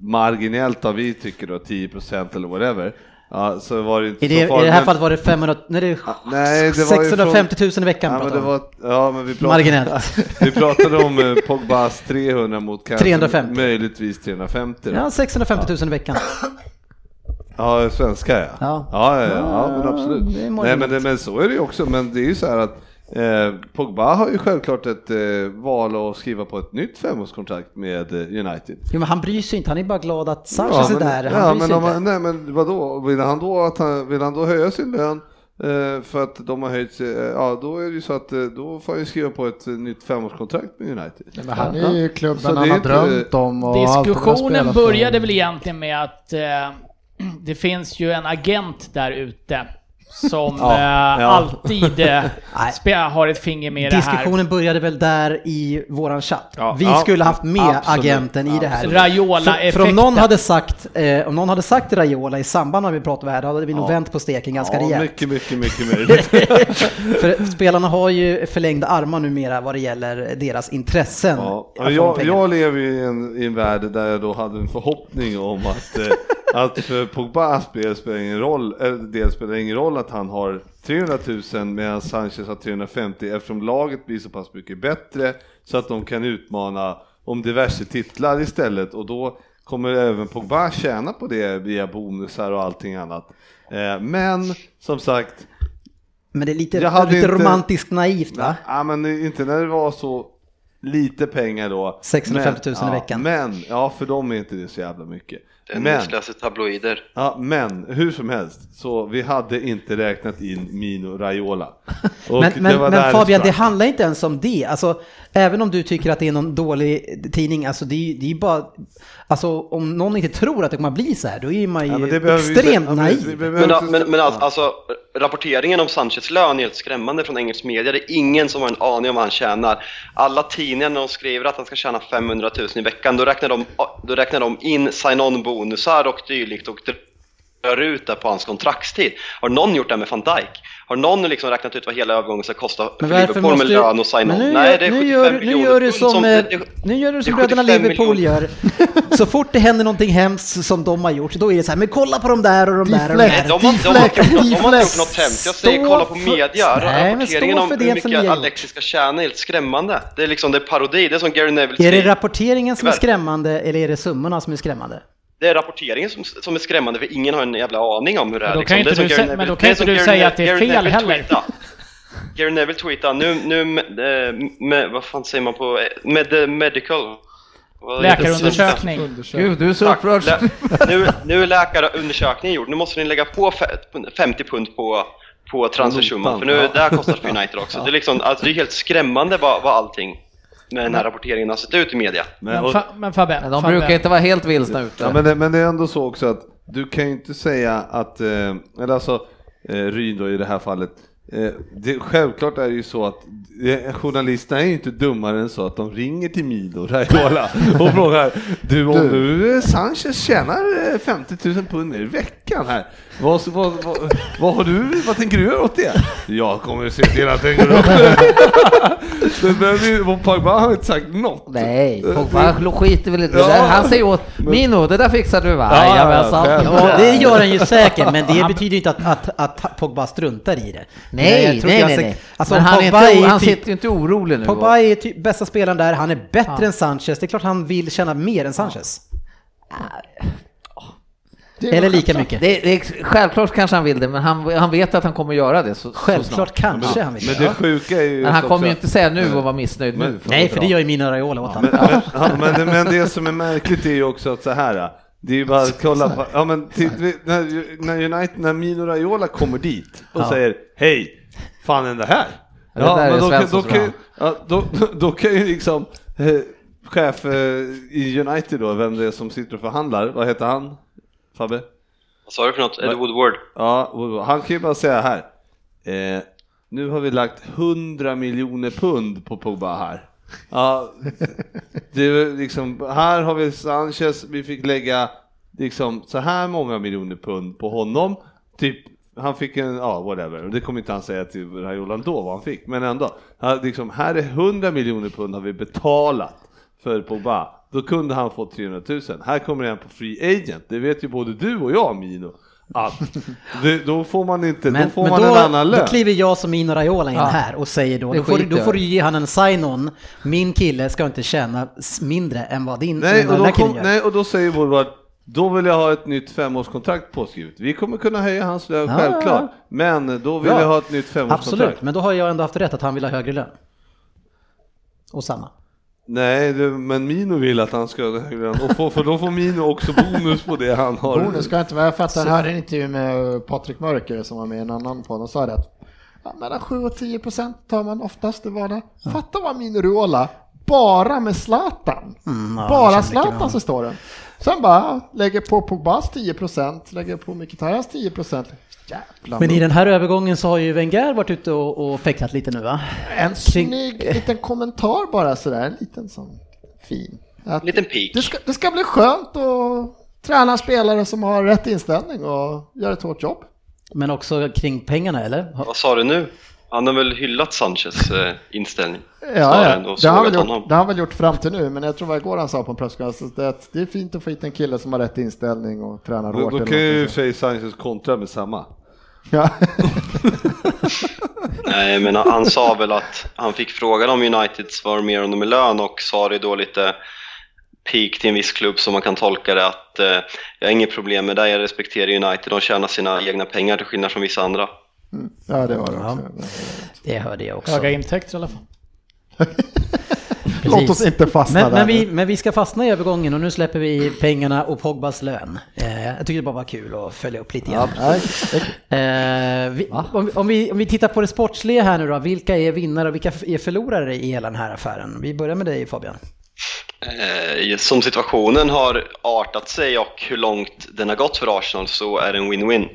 marginellt av vi tycker då 10% eller whatever, ja, så var det inte I det, så farligt. I det här Men- fallet var det 500, nej, det är Nej, det var ju 650 000 i veckan Ja men, pratar det vi. var, ja, men vi pratade, Marginellt. Vi pratade om eh, Pogbas 300 mot kanske 350. möjligtvis 350 då. Ja, 650 000 i veckan. Ja, svenska ja. Ja. ja, ja, ja, ja, men det absolut. är Nej, men, marginellt. det, men så är det ju också. Men det är ju så här att eh, Pogba har ju självklart ett eh, val att skriva på ett nytt femårskontrakt med eh, United. Jo, men han bryr sig inte, han är bara glad att Sanchez är där. Han ja, bryr men, sig om inte. han, nej, men vadå, vill han då, att han, vill han då höja sin lön eh, för att de har höjt sig, eh, ja då är det ju så att eh, då får han ju skriva på ett eh, nytt femårskontrakt med United. Men han är ju i Så klubben det han är har inte- drömt om och allt han har Diskussionen spelat började för. väl egentligen med att eh, det finns ju en agent där ute som eh, ja. alltid eh, spe- har ett finger med i det här. Diskussionen började väl där i våran chatt. Ja, vi ja, skulle haft med absolut, agenten i det här. absolut. Raiola-effekten. För, för om någon hade sagt, eh, om någon hade sagt Raiola i samband med att vi pratade om det här, då hade vi nog vänt på steken ganska ja, rejält. mycket, mycket, mycket möjligt. För spelarna har ju förlängda armar numera vad det gäller deras intressen. Ja, att få jag, pengar. jag lever ju i en, i en värld där jag då hade en förhoppning om att, eh, att för Pogba spel spelar ingen roll, eller det spelar ingen roll att han har 300 000 medan Sanchez har 350 eftersom laget blir så pass mycket bättre så att de kan utmana om diverse titlar istället och då kommer även Pogba tjäna på det via bonusar och allting annat. Eh, Men som sagt, Men det är lite, Jag hade lite inte- romantiskt naivt va? Ja, ah, men inte när det var så lite pengar då. 650 000 i Men- veckan. Ja, men, ja för dem är inte det så jävla mycket. Den Men, läser tabloider. ja, men hur som helst, så vi hade inte räknat in Mino Raiola. Och Men, det men, var där men Fabian, det sprack. handlar inte ens om det. Alltså, även om du tycker att det är någon dålig tidning, alltså det är, det är bara... Alltså om någon inte tror att det kommer att bli så här, då är man Ja, ju men det behöver vi inte- extremt ja, men naiv. vi behöver Men, inte- ja, men, men alltså, alltså, rapporteringen om Sanchez lön är helt skrämmande från engelsk media. Det är ingen som har en aning om vad han tjänar. Alla tidningar när de skriver att han ska tjäna 500 000 i veckan, då räknar de, då räknar de in sign-on-bonusar och dylikt och drar ut det på hans kontraktstid. Har någon gjort det här med van Dijk? Har någon liksom räknat ut vad hela övergången ska kosta för Men varför Liverpool måste med du... lön och Men sign-on? nu, Nej, gör- det är 75 nu, gör, nu gör du miljoner som, eh, det- det- nu gör du som det är bröderna 75 Liverpool miljoner. gör. Så fort det händer någonting hemskt som de har gjort, då är det så här, men kolla på de där och de där och de Deflect. Nej, där. de har, de, har, de, har, inte gjort- de har inte gjort Deflex. något hemskt. Jag säger Stå kolla på för- media. Nej, men Rapporteringen stå om för det hur som ni har mycket gjort. Alexis ska tjäna är helt skrämmande. Det är liksom det är parodi. Det är som Gary Neville Är det säger. rapporteringen som är Tyvärr. skrämmande eller är det summorna som är skrämmande? Det är rapporteringen som, som är skrämmande för ingen har en jävla aning om hur det är. Men då liksom. kan inte det är som du Gary sä- Neville- men då kan är inte som du Gary säga Neville- att det är Gary fel Neville heller. tweetade. Gary Neville tweetade nu, nu med, eh, med, vad fan säger man på, eh, med eh, medical. Vad heter det? Läkarundersökning. Gud, du är så Tack. upprörd. Lä- nu, nu är läkarundersökningen gjord, nu måste ni lägga på fe- 50 pund på, på transfersumman, för nu är det här kostar för United också. Det är, liksom, alltså, det är helt skrämmande vad, vad allting med den här rapporteringen har sett ut i media. Men, Men, och, fa men Fabbe, Men de Fabbe. brukar inte vara helt vilsna ute. ja, men, det, men det är ändå så också att du kan ju inte säga att, eh, eller alltså eh, Ryn då i det här fallet, eh, det, självklart är det ju så att eh, journalisterna är ju inte dummare än så att de ringer till Milo Raiola och frågar du om nu eh, Sanchez tjänar eh, 50 000 pund mer i veckan här, vad, vad, vad, vad, har du, vad tänker du göra åt det? Jag kommer se till att den går upp. Det behöver ju- och Pogba har inte sagt något. Nej, Eh, Pogba skiter väl inte i Ja. det där. Han säger åt Mino, det där fixar du va? Ja, alltså, Jajamensan. ja, Ja, det gör han ju säkert, men det betyder ju inte att, att, att Pogba struntar i det. Nej, Jag tror nej, jag nej, sä- nej. Alltså, men han, är Pogba inte, är ju han typ- sitter ju inte orolig nu. Pogba är typ bästa spelaren där, han är bättre än Sanchez. Det är klart han vill tjäna mer än Sanchez. Det är Eller väl lika självklart. mycket. Det, det är, självklart kanske han vill det, men han, han vet att han kommer göra det så, så snart. Självklart kanske han vill Men göra. det sjuka är ju Men han också kommer att- ju Mm. inte säga nu och vara missnöjd Men- nu. Nej, för det gör ju Mino Raiola åt honom. Men, ja, men, men det som är märkligt är ju också att så här, det är ju bara att kolla på, ja men titt, vi- när, när United, när Mino Raiola kommer dit och säger hej, fan är det här? Ja, det där är då, kan- Svenssons då, kan, bra. ja, då, då kan ju liksom eh, chef eh, i United då, vem det är som sitter och förhandlar, vad heter han? Fabbe? Vad sa du för något? Ed Woodward? Ja, och han kan ju bara säga här. Eh, nu har vi lagt 100 miljoner pund på Pogba här. Ja, det är liksom, här har vi Sanchez, vi fick lägga liksom så här många miljoner pund på honom. Typ, han fick en, ja whatever, det kommer inte han säga till Raiola ändå vad han fick, men ändå. Här, liksom, här är 100 miljoner pund har vi betalat för Pogba. Då kunde han få 300 000. Här kommer en på Free Agent, det vet ju både du och jag Mino. Att det, då får man inte, då får man då, en annan lön. då kliver jag som Mino Raiola in här och säger då, Det då får, du, då skiter får du jag ge han en sign-on. Min kille ska inte tjäna s- mindre än vad din vad Nej, och den då, här killen kom, gör. nej, och då säger Woodward, då vill jag ha ett nytt femårskontrakt påskrivet. Vi kommer kunna höja hans lön, Ja, självklart. ja, Men då vill Bra. jag ha ett nytt femårskontrakt. Absolut, men då har jag ändå haft rätt att han vill ha högre lön. Och samma. Nej, det, men Mino vill att han ska ha högre lön. Och få, för då får Mino också bonus på det han har. Bonus ska jag inte vara. Jag fattar, jag hörde en intervju med Patrik Mörker som var med i en annan podd och sa det att ja, mellan 7 och 10 procent tar man oftast i vardag. Fatta vad min Rola bara med Zlatan. ja, jag känner bara likadant. Zlatan så står det. Sen bara ja, lägger på Pogbas 10 procent, lägger på Mkhitaryan 10 procent. Jävlar. Men i den här övergången så har ju Wenger varit ute och, och fäktat lite nu va? Kring- En snygg liten kommentar bara sådär, en liten sån fin. Att En liten pik. Det ska, det ska bli skönt att träna spelare som har rätt inställning och gör ett hårt jobb. Men också kring pengarna eller? Ha- Vad sa du nu? Han har väl hyllat Sanchez eh, inställning? snarare Ja, än ja. att Det, har han sågat väl honom. gjort, det har han väl gjort fram till nu, men jag tror vad igår han sa på en presskonferens att det- det är fint att få hit en kille som har rätt inställning och tränar Då, hårt. då eller kan ju någonting Faye Sanchez kontra med samma. så. Ja. Nej, men han, han sa väl att han fick frågan om Uniteds var mer om det med lön och sa det då lite peak till en viss klubb som man kan tolka det att eh, jag har inget problem med det, jag respekterar United, de tjänar sina egna pengar till skillnad från vissa andra. ja, det var det också. Det hörde jag också. Höga intäkter i alla fall. Precis. Låt oss inte fastna men, där. men, vi, men vi ska fastna i övergången och nu släpper vi pengarna och Pogbas lön. Eh, jag tycker det bara var kul att följa upp lite grann. Nej, Eh, vi, om, om, vi, om vi tittar på det sportsliga här nu då, vilka är vinnare och vilka är förlorare i hela den här affären? Vi börjar med dig Fabian. Eh, som situationen har artat sig och hur långt den har gått för Arsenal så är det en win-win.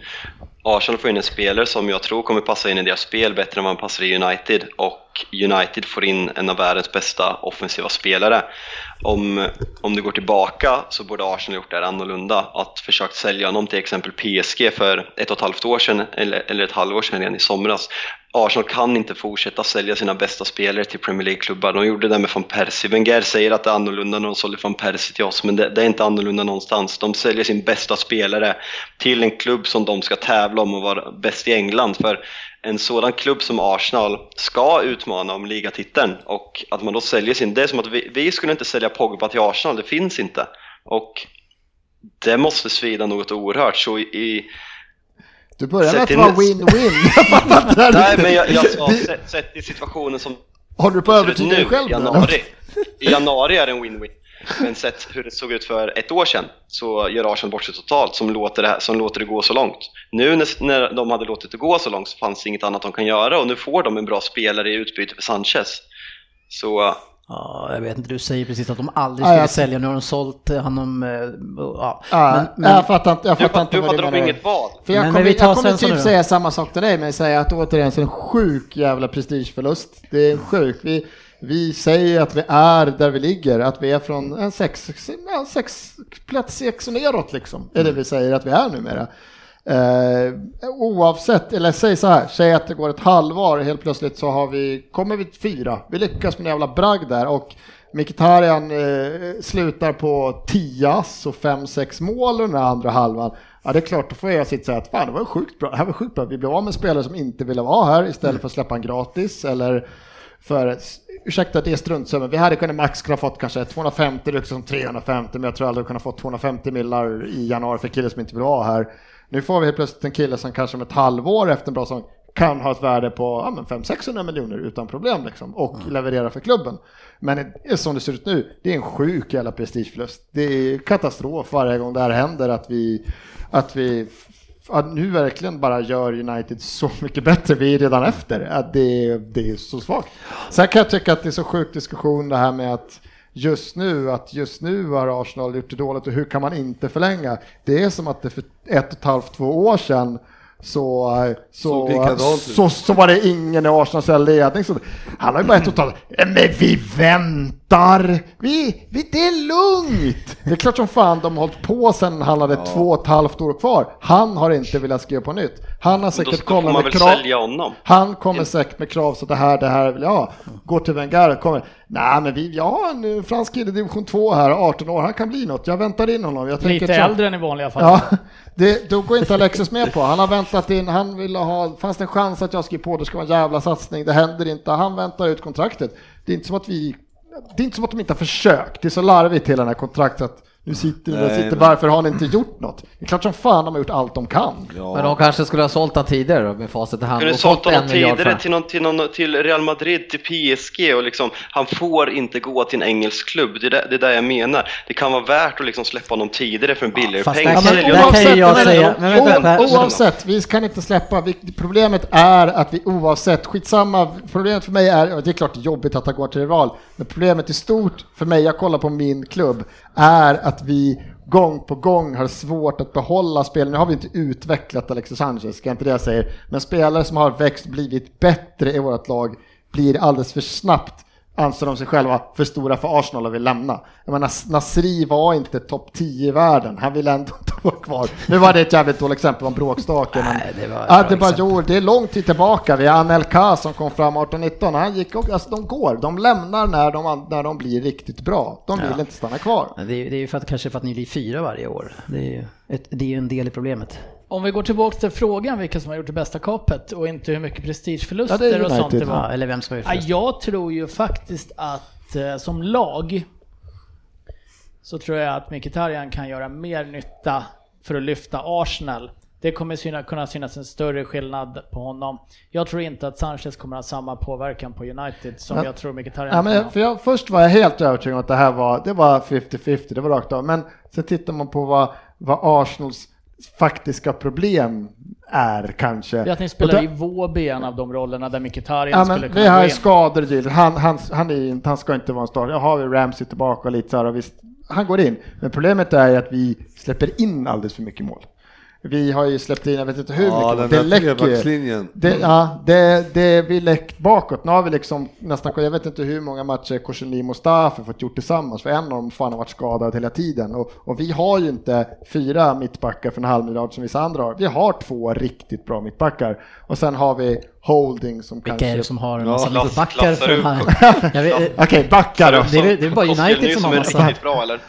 Arsenal får in en spelare som jag tror kommer passa in i deras spel bättre än vad han passar i United och United får in en av världens bästa offensiva spelare. Om, om du går tillbaka så borde Arsenal gjort det här annorlunda. Att försökt sälja honom till exempel PSG för ett och ett halvt år sedan eller, eller ett halvår sedan redan i somras. Arsenal kan inte fortsätta sälja sina bästa spelare till Premier League-klubbar. De gjorde det med van Persie. Wenger säger att det är annorlunda när de sålde van Persie till oss, men det, det är inte annorlunda någonstans. De säljer sin bästa spelare till en klubb som de ska tävla om och vara bäst i England. För en sådan klubb som Arsenal ska utmana om ligatiteln och att man då säljer sin... Det är som att vi, vi skulle inte sälja Pogba till Arsenal, det finns inte. Och det måste svida något oerhört. Så i, i, du börjar med Sätt att in- vara win-win. Jag fattar inte det nej, här riktigt. men jag, jag sa, Det- sett- sett i situationen som Håller du på att övertyga dig själv i nu, eller? januari. I januari är det en win-win. Men sett hur det såg ut för ett år sedan så gör Arsenal bort sig totalt som låter det, här, som låter det gå så långt. Nu när, när de hade låtit det gå så långt så fanns det inget annat de kan göra och nu får de en bra spelare i utbyte för Sanchez. Så eh, Ja, jag vet inte, du säger precis att de aldrig Ja, skulle jag- sälja, nu har de sålt honom. eh, Ja, Ja, men, men, jag fattar inte, jag du, fattar inte du vad hade du de menar. inget val. För jag Men- kommer, men vi tar jag kommer Svensson typ nu då. säga samma sak till dig, men säga att återigen så är det en sjuk jävla prestigeförlust. Det är en sjuk. Vi, vi säger att vi är där vi ligger, att vi är från en sex, ja, sex plats sex och neråt liksom. Det är det vi säger att vi är numera. Eh, oavsett, eller säg så här, säg att det går ett halvår helt plötsligt så har vi, kommer vi fyra. Vi lyckas med en jävla bragd där och Mkhitaryan eh, slutar på 10 ass och 5-6 mål under den andra halvan. Ja det är klart, då får jag sitta och säga att fan det var sjukt bra, det här var sjukt bra. Vi blev av med spelare som inte ville vara här istället för att släppa en gratis eller för, ursäkta att det är struntsumma, vi hade kunnat max kunna fått kanske 250, liksom 350, men jag tror aldrig vi kunnat fått 250 millar i januari för killar som inte vill vara här. Nu får vi helt plötsligt en kille som kanske om ett halvår efter en bra säsong kan ha ett värde på ja, men 500-600 miljoner utan problem liksom, och leverera för klubben. Men det är som det ser ut nu, det är en sjuk jävla prestigeförlust. Det är katastrof varje gång det här händer att vi, att vi att nu verkligen bara gör United så mycket bättre. Vi är redan efter. Att det, det är så svagt. Sen kan jag tycka att det är så sjuk diskussion det här med att just nu, att just nu har Arsenal gjort det dåligt och hur kan man inte förlänga? Det är som att det för ett och ett halvt, två år sedan så, eh, Såg så, likadant ut. så, så var det ingen i Arsenals ledning. Så, han har ju bara ett totalt "Eh, men vi väntar, vi, vi, det är lugnt. Det är klart som fan de har hållit på sen han hade två och ett halvt år kvar. Han har inte velat skriva på nytt. Han har Då, säkert då får kommit man med väl krav. sälja honom. Han kommer säkert med krav så det här, det här vill jag ha. Går till Wenger, kommer. Nej men vi, jag har en eh, fransk kille i division 2 här, 18 år, han kan bli något. Jag väntar in honom. Jag tänker Lite så- äldre än i vanliga fall. Ja, det, då går inte Alexis med på. Han har väntat in, han ville ha, fanns det en chans att jag skrev på, det ska vara en jävla satsning, det händer inte. Han väntar ut kontraktet. Det är inte som att vi, det är inte som att de inte har försökt. Det är så larvigt hela den här kontraktet. Nu sitter ni där Nej, sitter, men- varför har ni inte gjort något? Det är klart som fan de har gjort allt de kan. Ja. Men de kanske skulle ha sålt han tidigare då, med facit i hand Kunde och sålt fått honom en miljard tidigare för till, någon, till, någon, till Real Madrid, till PSG och liksom, han får inte gå till en engelsk klubb. Det är det, det är där jag menar. Det kan vara värt att liksom släppa honom tidigare för en billigare fast peng. där- Sälja där honom. kan ju jag men- säga- o- men vänta, Alltså, Per. Oavsett- oavsett, vi kan inte släppa. Vi, problemet är att vi oavsett, skitsamma, problemet för mig är, och det är klart det är jobbigt att han går till rival, men problemet i stort för mig, jag kollar på min klubb, är att vi gång på gång har svårt att behålla spel. Nu har vi inte utvecklat Alexis Sanchez, ska inte det jag säger, men spelare som har växt, blivit bättre i vårt lag, blir alldeles för snabbt anser de sig själva för stora för Arsenal och vill lämna. Jag menar, Nasri var inte topp 10 i världen, han ville ändå inte vara kvar. Nu var det ett jävligt dåligt exempel om bråkstaken. men- Nej, det var liksom- ett ja, bra det, bara, exempel. jo, det är lång tid tillbaka, vi har Anelka som kom fram 18-19, han gick och, alltså de går, de lämnar när de, när de blir riktigt bra. De vill Ja. inte stanna kvar. Ja, Det är, det är ju för att, kanske för att ni blir fyra varje år. Det är ju ett, det är ju en del i problemet. Om vi går tillbaka till frågan vilka som har gjort det bästa kapet och inte hur mycket Ja, det är prestigeförluster och United. sånt det var. Ja, eller vem som har gjort Ja, det. jag tror ju faktiskt att eh, som lag så tror jag att Mkhitaryan kan göra mer nytta för att lyfta Arsenal. Det kommer syna, kunna synas en större skillnad på honom. Jag tror inte att Sanchez kommer ha samma påverkan på United som Ja. jag tror Mkhitaryan Ja, kommer men ha. för jag, först var jag helt övertygad om att det här var, det var 50-50, det var rakt av. Men sen tittar man på vad, vad Arsenals faktiska problem är kanske. Det är att ni Och där- spelar i Våby, en av de rollerna där Mkhitaryan Ja, skulle men kunna vi har gå ju in. skador Gil. Han, han, han, är, inte- han ska inte vara en start. Jag har vi Ramsey tillbaka och lite så här och visst, han går in. Men problemet är ju att vi släpper in alldeles för mycket mål. Vi har ju släppt in, jag vet inte hur mycket, Ja, mål. den det där läcker ju. trebackslinjen. Det, ja, det, det, vi läckt bakåt. Nu har vi liksom nästan, jag vet inte hur många matcher Korsenli och Mustafa fått gjort tillsammans, för en av dem fan har varit skadad hela tiden. Och, och vi har ju inte fyra mittbackar för en halv miljard som vissa andra har. Vi har två riktigt bra mittbackar. Och sen har vi Holding som Vilka är kanske... det som har en Ja, massa klass- mittbackar? klassar för de ut här? Jag vet- Okej, backar då. det är väl- det är bara Kostel United nu som har är massa- riktigt bra eller?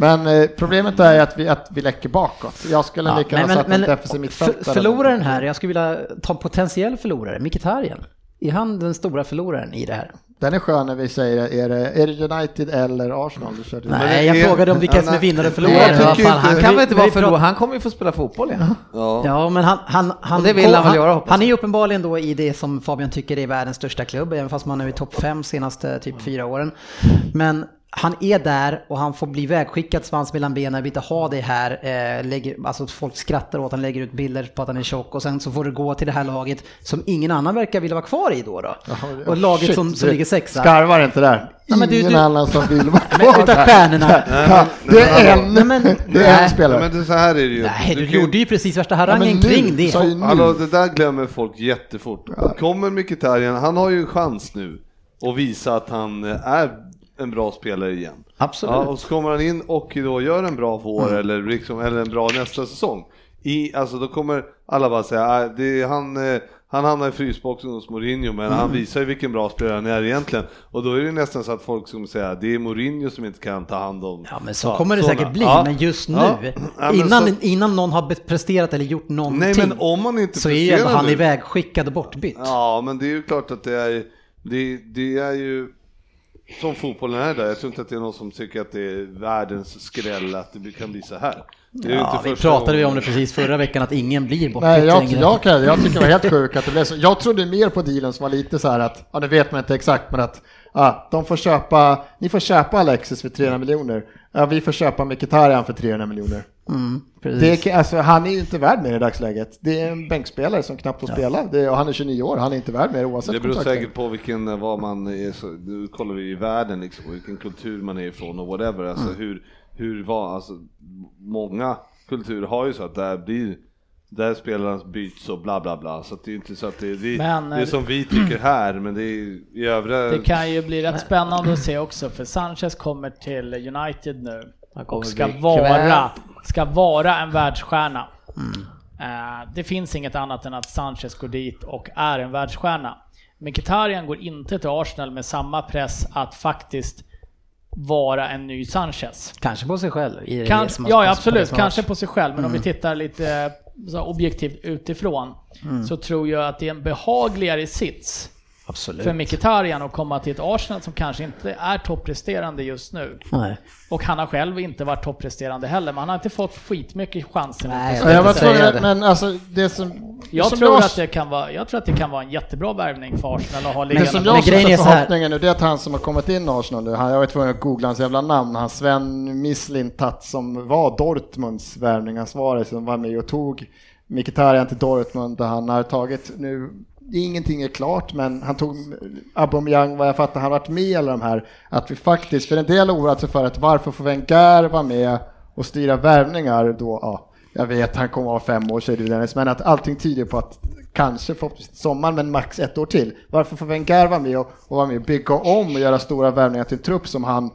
Men eh, problemet är ju att vi, att vi läcker bakåt. Jag skulle lika gärna satt en defensiv mittfältare. för, förloraren här, jag skulle vilja ta en potentiell förlorare, Mkhitaryan. Är han den stora förloraren i det här? Den är skön när vi säger, är det, är det United eller Arsenal? Du körde Men Nej, det jag är- frågade om vilka Ja, som är nej. vinnare och Jag förlorare. tycker Vad fan, inte- han. han Han Vi- kan väl inte vara vi pratar- förlorare, han kommer ju få spela fotboll igen. Ja. Ja, men han, han, han, Och det vill han väl göra, hoppas han är jag. ju uppenbarligen då i det som Fabian tycker är världens största klubb, även fast man är i topp fem senaste typ fyra åren. Men han är där och han får bli vägskickad svans mellan benen, vill inte ha det här. Eh, lägger, alltså folk skrattar åt han lägger ut bilder på att han är tjock och sen så får det gå till det här laget som ingen annan verkar vilja vara kvar i då. då. och laget Shit, som, som du ligger sexa. Skarvar inte där. Nej, men Ingen du- du- annan som vill vara Men kvar utav där. stjärnorna. Ja, Det är en, Nej, men- det är en Nej. Ja, spelare. men det, så här är det ju. Nej, du, kan ju- gjorde ju precis värsta Ja, men harangen nu, kring det. sa ju nu. Hallå, det där glömmer folk jättefort. Kommer Mkhitaryan, han har ju en chans nu att visa att han eh, är en bra spelare igen. Absolut. Mm. Ja, och så kommer han in och då gör en bra vår eller, liksom, eller en bra nästa säsong. I, alltså då kommer alla bara säga, äh, det är han, eh, han hamnar i frysboxen hos Mourinho men Mm. han visar ju vilken bra spelare han är egentligen. Och då är det nästan så att folk kommer säga, det är Mourinho som inte kan ta hand om Ja men så kommer det säkert såna." bli, Ja. men just nu, Ja. Ja, men innan, så- innan någon har presterat eller gjort någonting, Nej men om man inte så är ju ändå presterar han nu- ivägskickad och bortbytt. Ja, men det är ju klart att det är, det, det är ju som fotbollen är där. Jag tror inte att det är någon som tycker att det är världens skräll att det kan bli så här. Det är ju Ja, inte vi första pratade ju gången. om det precis förra veckan, att ingen blir bortbytt Nej, jag, längre. jag, kan- jag tycker det var helt sjukt att det blev så. Jag trodde mer på dealen som var lite så här att, ja nu vet man inte exakt, men att ja, de får köpa, ni får köpa Alexis för 300 miljoner, ja, vi får köpa Mkhitaryan för 300 miljoner. Mm, precis. Det är, alltså, han är ju inte värd mer i dagsläget. Det är en bänkspelare som knappt får spela det är, och han är 29 år, han är inte värd mer oavsett Det beror kontraktet. säkert på vilken, vad man är, så, nu kollar vi i världen liksom, och vilken kultur man är ifrån och whatever. Mm. Alltså hur, hur var, alltså många kulturer har ju så att det här blir Där spelarna byts och bla bla bla. Så att det är inte så att det, det, Men, det är som eh, vi tycker här, men det är i övriga... Det kan ju bli rätt spännande att se också för Sanchez kommer till United nu Han kommer och ska bli vara, kvävd. ska vara en världsstjärna. Mm. Eh, Det finns inget annat än att Sanchez går dit och är en världsstjärna. Mkhitaryan går inte till Arsenal med samma press att faktiskt vara en ny Sanchez. Kanske på sig själv. I det Kans, som har- ja, som- absolut. som har- Kanske på sig själv. Men Mm. om vi tittar lite eh, så här objektivt utifrån Mm. så tror jag att det är en behagligare sits Absolut. för Mkhitaryan att komma till ett Arsenal som kanske inte är toppresterande just nu. Nej. Och han har själv inte varit toppresterande heller, men han har inte fått skitmycket chanser. Nej, jag mot oss. vet Jag var inte säga tvungen, det. men alltså det som... jag, som tror jag- att det kan vara, jag tror att det kan vara en jättebra värvning för Arsenal att ha Det liggande. som men jag grejen sätter är så här- förhoppningen nu, det är att han som har kommit in i Arsenal nu, han, jag var tvungen att googla hans jävla namn, han Sven Mislintat som var Dortmunds värvningsansvarig som var med och tog Mkhitaryan till Dortmund där han har tagit, nu ingenting är klart men han tog Aubameyang vad jag fattar, han har varit med i alla de här, att vi faktiskt, för en del har oroat sig för att varför får Wenger vara med och styra värvningar då, ja. Jag vet, han kommer att vara fem år, säger du Dennis, men att allting tyder på att kanske förhoppningsvis till sommaren, men max ett år till. Varför får Wenger vara med och, och vara med och bygga om och göra stora värvningar till en trupp som han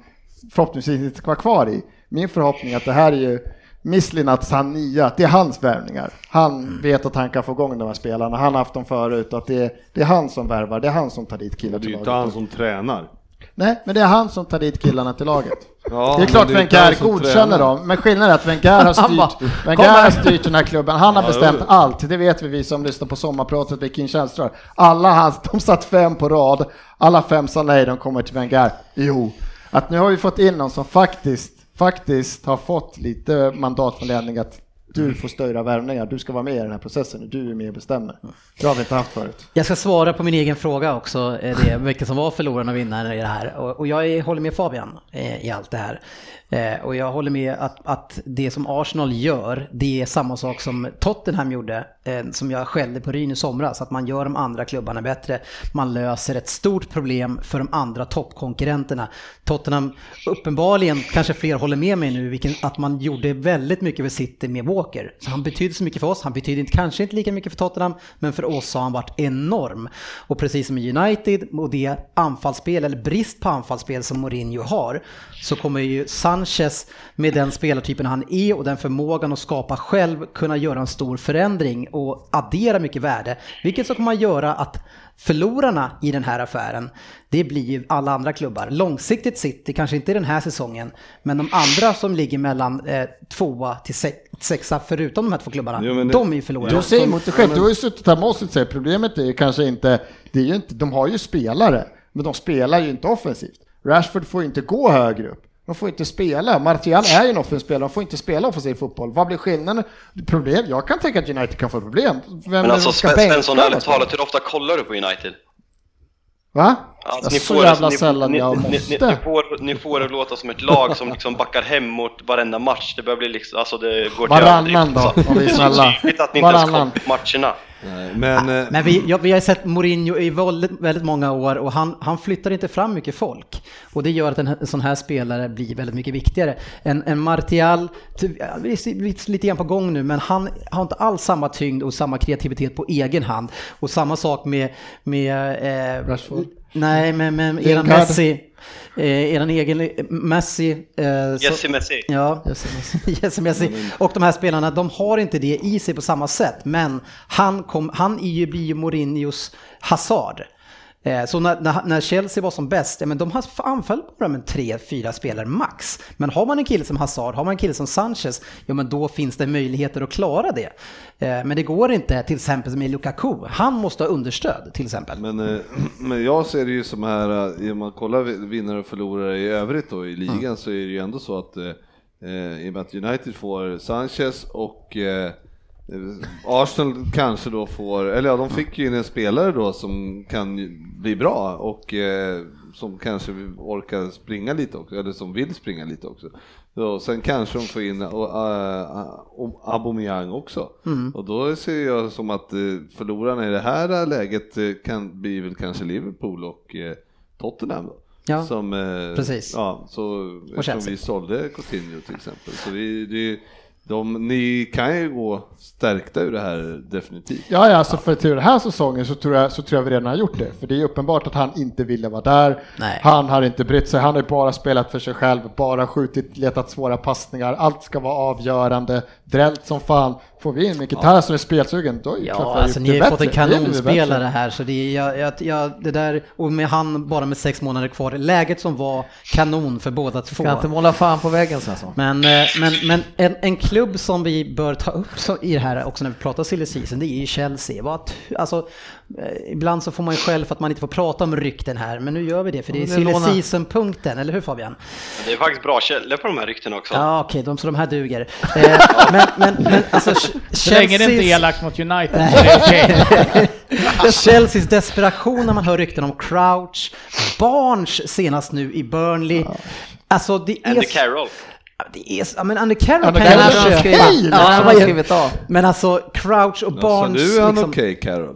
förhoppningsvis inte ska vara kvar i? Min förhoppning är att det här är ju Mislinats han nya, att det är hans värvningar. Mm. Han vet att han kan få igång de här spelarna, han har haft dem förut, att det är, det är han som värvar, det är han som tar dit killar Det är till ju inte laget. han som tränar. Nej, men det är han som tar dit killarna till laget. Ja, Det är klart men inte han Wenger som godkänner tränar. dem, men skillnaden är att Wenger har bara, styrt, "Kom Wenger här." har styrt den här klubben. Han har Ja, bestämt jo. allt, det vet vi, vi som lyssnar på sommarpratet med Kim Källström. Alla hans, de satt fem på rad, alla fem sa nej, de kommer till Wenger. Jo, att nu har vi fått in någon som faktiskt, faktiskt har fått lite mandat från ledningen att du får störa värvningar, du ska vara med i den här processen, du är med och bestämmer. Det har vi inte haft förut. Jag ska svara på min egen fråga också, eh, det, vilka som var förlorarna och vinnarna i det här. Och, och jag är, håller med Fabian eh, i allt det här. Eh, och jag håller med att, att det som Arsenal gör, det är samma sak som Tottenham gjorde, eh, som jag skällde på Ryn i somras, att man gör de andra klubbarna bättre. Man löser ett stort problem för de andra toppkonkurrenterna. Tottenham, uppenbarligen, kanske fler håller med mig nu, vilken, att man gjorde väldigt mycket för City med Walker. Så han betyder så mycket för oss, han betyder inte, kanske inte lika mycket för Tottenham, men för oss har han varit enorm. Och precis som i United och det anfallsspel, eller brist på anfallsspel som Mourinho har, så kommer ju Sanchez med den spelartypen han är och den förmågan att skapa själv kunna göra en stor förändring och addera mycket värde. Vilket så kommer att göra att förlorarna i den här affären, det blir ju alla andra klubbar. Långsiktigt City, kanske inte den här säsongen, men de andra som ligger mellan eh, tvåa till sex, sexa, förutom de här två klubbarna, Jo, men det- de är ju förlorare. Du säger emot dig själv, du har ju suttit här med oss och säger problemet är ju kanske inte, det är ju inte, de har ju spelare, men de spelar ju inte offensivt. Rashford får ju inte gå högre upp. De får inte spela. Martial är ju en offensiv spelare, de får inte spela offensiv fotboll. Vad blir skillnaden? Problem? Jag kan tänka att United kan få problem. Vem är Men det alltså som ska Sven- bänka Svensson, ärligt då? talat, hur ofta kollar du på United? Va? Alltså, Jag är så får- jävla ni- sällan ni- jag ni- måste. Ni, ni, får, ni får det låta som ett lag som liksom backar hemåt varenda match. Det börjar bli liksom, alltså det går till Varannan överdrift, då, alltså. om vi är snälla. Tydligt att ni inte ens Varannan. kom på matcherna. Men, eh, Men vi, ja, vi har sett Mourinho i väldigt, väldigt många år och han, han flyttar inte fram mycket folk. Och det gör att en, en sån här spelare blir väldigt mycket viktigare. En, en Martial, ty- ja, vi är lite- lite grann på gång nu, men han har inte alls samma tyngd och samma kreativitet på egen hand. Och samma sak med... med eh, Rashford. Nej, men, men eran Lingard. Messi. Eh, eran egen Messi. Eh, så- Jesse Messi. Ja, Jesse Messi. Och de här spelarna, de har inte det i sig på samma sätt. Men han, kom, han är ju, blir ju Mourinhos Hazard. Eh, Så när, när, när Chelsea var som bäst, ja, men de har- anföll bara med tre, fyra spelare max. Men har man en kille som Hazard, har man en kille som Sanchez, ja men då finns det möjligheter att klara det. Eh, Men det går inte till exempel som i Lukaku, han måste ha understöd till exempel. Men, eh, men jag ser det ju som här, eh, om man kollar vi- vinnare och förlorare i övrigt då i ligan så är det ju ändå så att eh, eh, i och med att United får Sanchez och eh, eh, Arsenal kanske då får, eller ja de fick ju in en spelare då som kan ju bli bra och eh, som kanske orkar springa lite också, eller som vill springa lite också. Och sen kanske de får in eh, eh, Aubameyang också. Mm. Och då ser jag som att eh, förlorarna i det här läget eh, kan bli väl kanske Liverpool och eh, Tottenham då. Ja, som, eh, precis. Ja, så, eftersom Chelsea. vi sålde Coutinho till exempel. Så vi, det, är ju- de, ni kan ju gå stärkta ur det här definitivt. Ja, ja, så för till den här säsongen så tror, jag, så tror jag vi redan har gjort det. För det är uppenbart att han inte ville vara där. Nej. Han har inte brytt sig. Han har ju bara spelat för sig själv, bara skjutit, letat svåra passningar. Allt ska vara avgörande. Drällt som fan. Får vi in Mkhitaryan som är spelsugen, då är det klart vi Ja, alltså gjort ni har ju det fått en bättre. Det är vi bättre. kanonspelare här så det, är- jag, jag, jag, det där, och med han bara med sex månader kvar, läget som var kanon för båda två. Ska inte måla fan på väggen Svensson. Men, eh, men, men en, en klubb som vi bör ta upp så, i det här också när vi pratar silly season, det är ju Chelsea. Vad tu- Alltså, eh, ibland så får man ju skäll för att man inte får prata om rykten här, men nu gör vi det för det är Men det silly lånar- season-punkten, eller hur Fabian? Det är faktiskt bra källor på de här ryktena också. Ja, okej, de, så de här duger. Eh, men, men, men alltså, Ch- Så länge det inte är Chelseas- elakt mot United så är det okej. Chelseas desperation när man hör rykten om Crouch, Barnes senast nu i Burnley. Alltså det är... Andy Carroll. Det är, ja, men Andy Carroll Andy kan jag Carroll köpa. har skrivit- Ja, Nej, han har vad är- skrivit av. Men alltså Crouch och Så Barnes. nu är han liksom, okej Carol.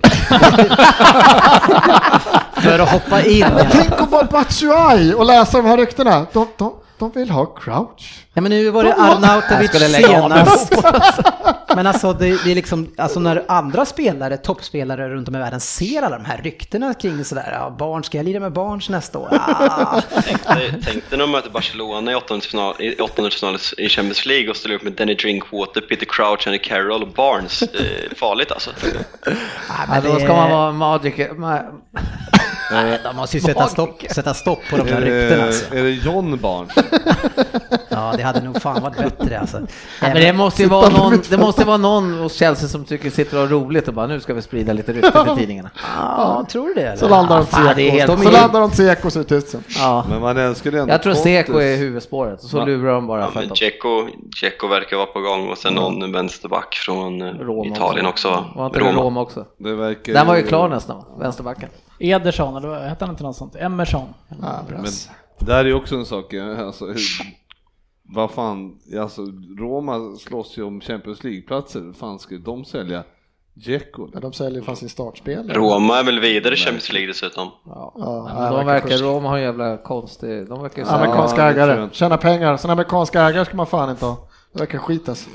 För att hoppa in. Ja. Tänk att vara Batshuay och läsa de här ryktena. De, de, de vill ha Crouch. Ja, men nu var det Jag Arnautovic skulle lägga av med senast. Men alltså, det, det är liksom, alltså när andra spelare, toppspelare runt om i världen ser alla de här ryktena kring sådär, ja, barn, ska jag lira med Barnes nästa år? Ah. Tänk dig- Tänk dig när de möter Barcelona i åttondelsfinal- i åttondelsfinalen i Champions League och ställer upp med Danny Drinkwater, Peter Crouch, Andy Carroll och Barnes. Det är farligt alltså. Nej, Ja, men då det- ska man vara magic. ma- Nej, de måste ju sätta stopp, sätta stopp på de Är där ryktena det, alltså. är det John Barnes? Ja, det hade nog fan varit bättre alltså. Nej, men det måste ju vara någon, det måste vara någon hos Chelsea som tycker sitter och har roligt och bara nu ska vi sprida lite rykten till tidningarna. Ja, tror du det? Eller? Så landar de fan, det är helt- Tseko. Så de är- landar de Tseko så ut tusen. Ja. Men man älskar det ändå. Jag tror Pontus. Seko är huvudspåret och så lurar de bara Ja, för men att de... Dzeko, Dzeko verkar vara på gång och sen någon vänsterback från eh, Roma Italien också. Var inte det Roma också? Det verkar Den var ju ju- klar nästan, va? vänsterbacken. Ederson, eller vad- hette han inte något sånt? Emerson. Ja, bra. Men där är ju också en sak, eh, alltså, hur- vad fan, alltså Roma slåss ju om Champions League-platser, Hur fan ska de sälja Dzeko? Men de säljer fan sin startspelare. Roma är väl vidare i Champions League dessutom. Ja. Ja, men ja, de verkar, fusk. Roma har en jävla konstig, de verkar ju sälja- Amerikanska Ja, det tror jag ägare, inte. tjäna pengar. Sådana amerikanska ägare ska man fan inte ha. Det verkar skit alltså.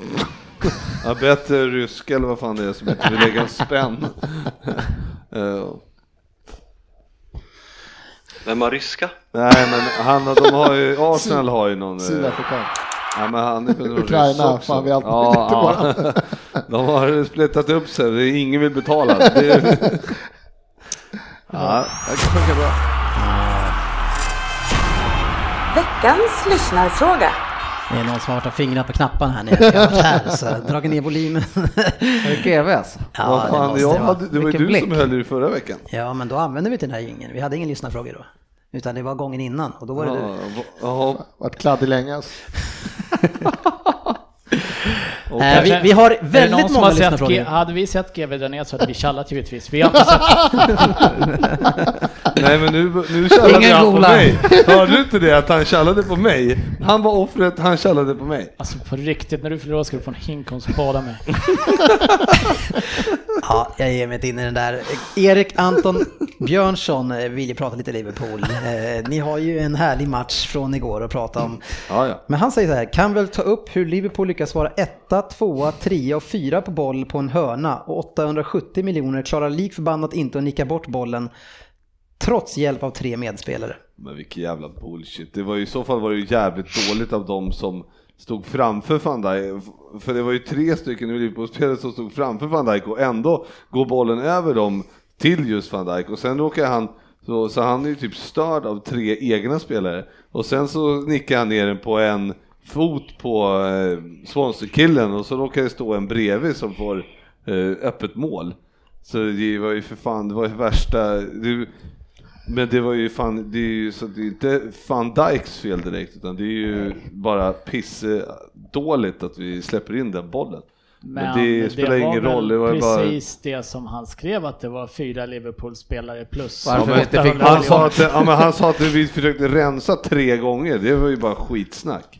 Ja, bättre ryska eller vad fan det är som inte vill lägga en spänn. Eh, Vem har ryska? nej men han, de har ju, Arsenal har ju någon... eh, Sydafrika. Ja, men han är väl någon Ukraina, ryss också. fan, vi har alltid ja, ja. De har splittat upp sig, det är ingen vill betala. Det är... Ja, det funkar bra. Veckans lyssnarfråga. Det är någon som har varit och fingrat på knapparna här när jag har varit här, så dragit ner volymen. Är det GV alltså? Ja, vad det fan, måste jag det vara. hade, det var ju Vilken du blick. som höll i det förra veckan. Ja, men då använde vi inte den här jingeln. Vi hade ingen lyssnarfråga då. Utan det var gången innan och då var det Ja, du. va- ja, Varit kladdig länge alltså. Eh, vi, vi har väldigt många lyssnarfrågor. lyssnarfrågor. Hade vi sett GW där nere så hade vi tjallat givetvis. Vi har inte sett nej men nu, nu tjallade Ingen han på gola. mig. Hörde du inte det att han tjallade på mig? Han var offret, han tjallade på mig. Alltså på riktigt, när du fyller år ska du få en hink och spara mig. Ja, jag ger mig inte in i den där. Erik Anton Björnsson eh, vill ju prata lite Liverpool. Eh, Ni har ju en härlig match från igår att prata om. Ja, ja. Men han säger så här, kan väl ta upp hur Liverpool lyckas vara etta, tvåa, trea och fyra på boll på en hörna och 870 miljoner klarar lik förbannat inte att nicka bort bollen trots hjälp av tre medspelare. Men vilken jävla bullshit. Det var ju, I så fall var det ju jävligt dåligt av dem som stod framför van Dijk. För det var ju tre stycken Liverpool-spelare som stod framför van Dijk och ändå går bollen över dem till just van Dijk. Och sen råkar han, så, så han är ju typ störd av tre egna spelare. Och sen så nickar han ner den på en fot på eh, Swansea-killen och så råkar det stå en bredvid som får eh, öppet mål. Så det var ju för fan, det var ju värsta... Det, men det var ju fan, det är ju så det är inte van Dijks fel direkt utan det är ju bara piss dåligt att vi släpper in den bollen. Men, det spelar var ingen väl roll, det var ju bara... precis det som han skrev att det var fyra Liverpool-spelare plus. Varför Ja, men- inte fick- Han sa, att, ja, men han sa att vi försökte rensa tre gånger, det var ju bara skitsnack.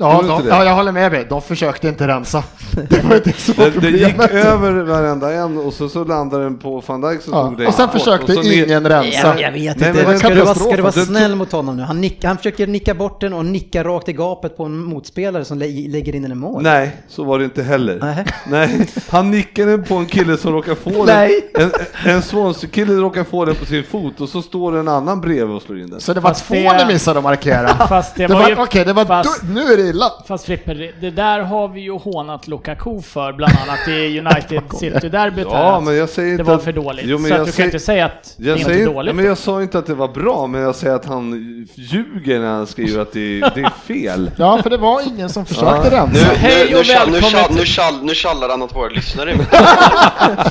Ja, Tror du de, inte det? ja, jag håller med dig. De försökte inte rensa. Det var inte så Det, det gick problemet. över varenda en och så, så landade den på van Dijk som Ja. tog det Och sen bort. försökte Och så ner- ingen rensa. Jag, jag vet Nej, inte. men det var ska, du vara, ska katastrof. du vara Den tog- snäll mot honom nu? Han, nick, han försöker nicka bort den och nicka rakt i gapet på en motspelare som lä lägger in den i mål. Nej, så var det inte heller. Nej. Nej, han nickade på en kille som råkar få Nej. den. En, en Swansea-kille råkar få den på sin fot och så står det en annan bredvid och slår in den. Så det var Fast två det- ni missade att markera. Fast det Det var var, ju... okej, det var fast- du, nu är det illa. Fast Frippe, det- det där har vi ju hånat Lukaku för, bland annat i United City-derbyt här. alltså. Ja, men jag säger Det inte var att- för dåligt. Jo, men så att jag du kan säger- inte säga att det är Jag, inte säger, ja, dåligt. men jag sa inte att det var bra, men jag säger att han ljuger när han skriver att det, det är fel. Ja, för det var ingen som försökte Nu, rensa. hej nu, nu, och tjall, nu, välkommen tjall, till- nu, tjall, nu tjallar han åt våra lyssnare.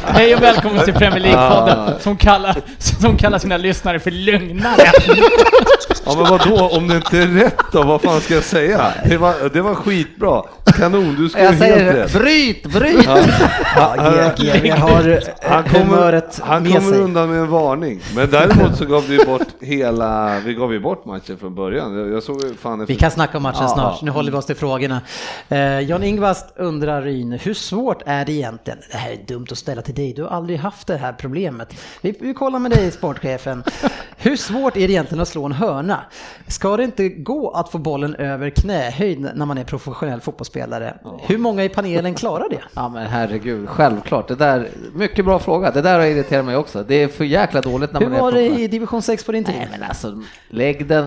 Hej och välkommen till Premier Ah. League-podden som kallar, som kallar sina lyssnare för lögnare. Ja, men vadå, om det inte är rätt då, vad fan ska jag säga? Det var, det var skitbra. Kanon, du skulle Jag helt säger rätt. bryt, bryt! Ja, GG har eh, Han humöret kommer, han med kommer sig. undan med en varning. Men däremot så gav vi bort hela, vi gav ju bort matchen från början. Jag, jag såg ju fan efter. Vi kan snacka om matchen Ja. snart, nu håller vi oss till frågorna. Eh, Jan Ingvast undrar Ryn, hur svårt är det egentligen? Det här är dumt att ställa till dig, du har aldrig haft det här problemet. Vi, vi kollar med dig sportchefen. hur svårt är det egentligen att slå en hörna? Ska det inte gå att få bollen över knähöjd när man är professionell fotbollsspelare? Hur många i panelen klarar det? Ja men herregud, självklart. Det där, mycket bra fråga. Det där har irriterat mig också. Det är för jäkla dåligt när Hur man är var det professionell. i division 6 på din tid? Nej men alltså, lägg den.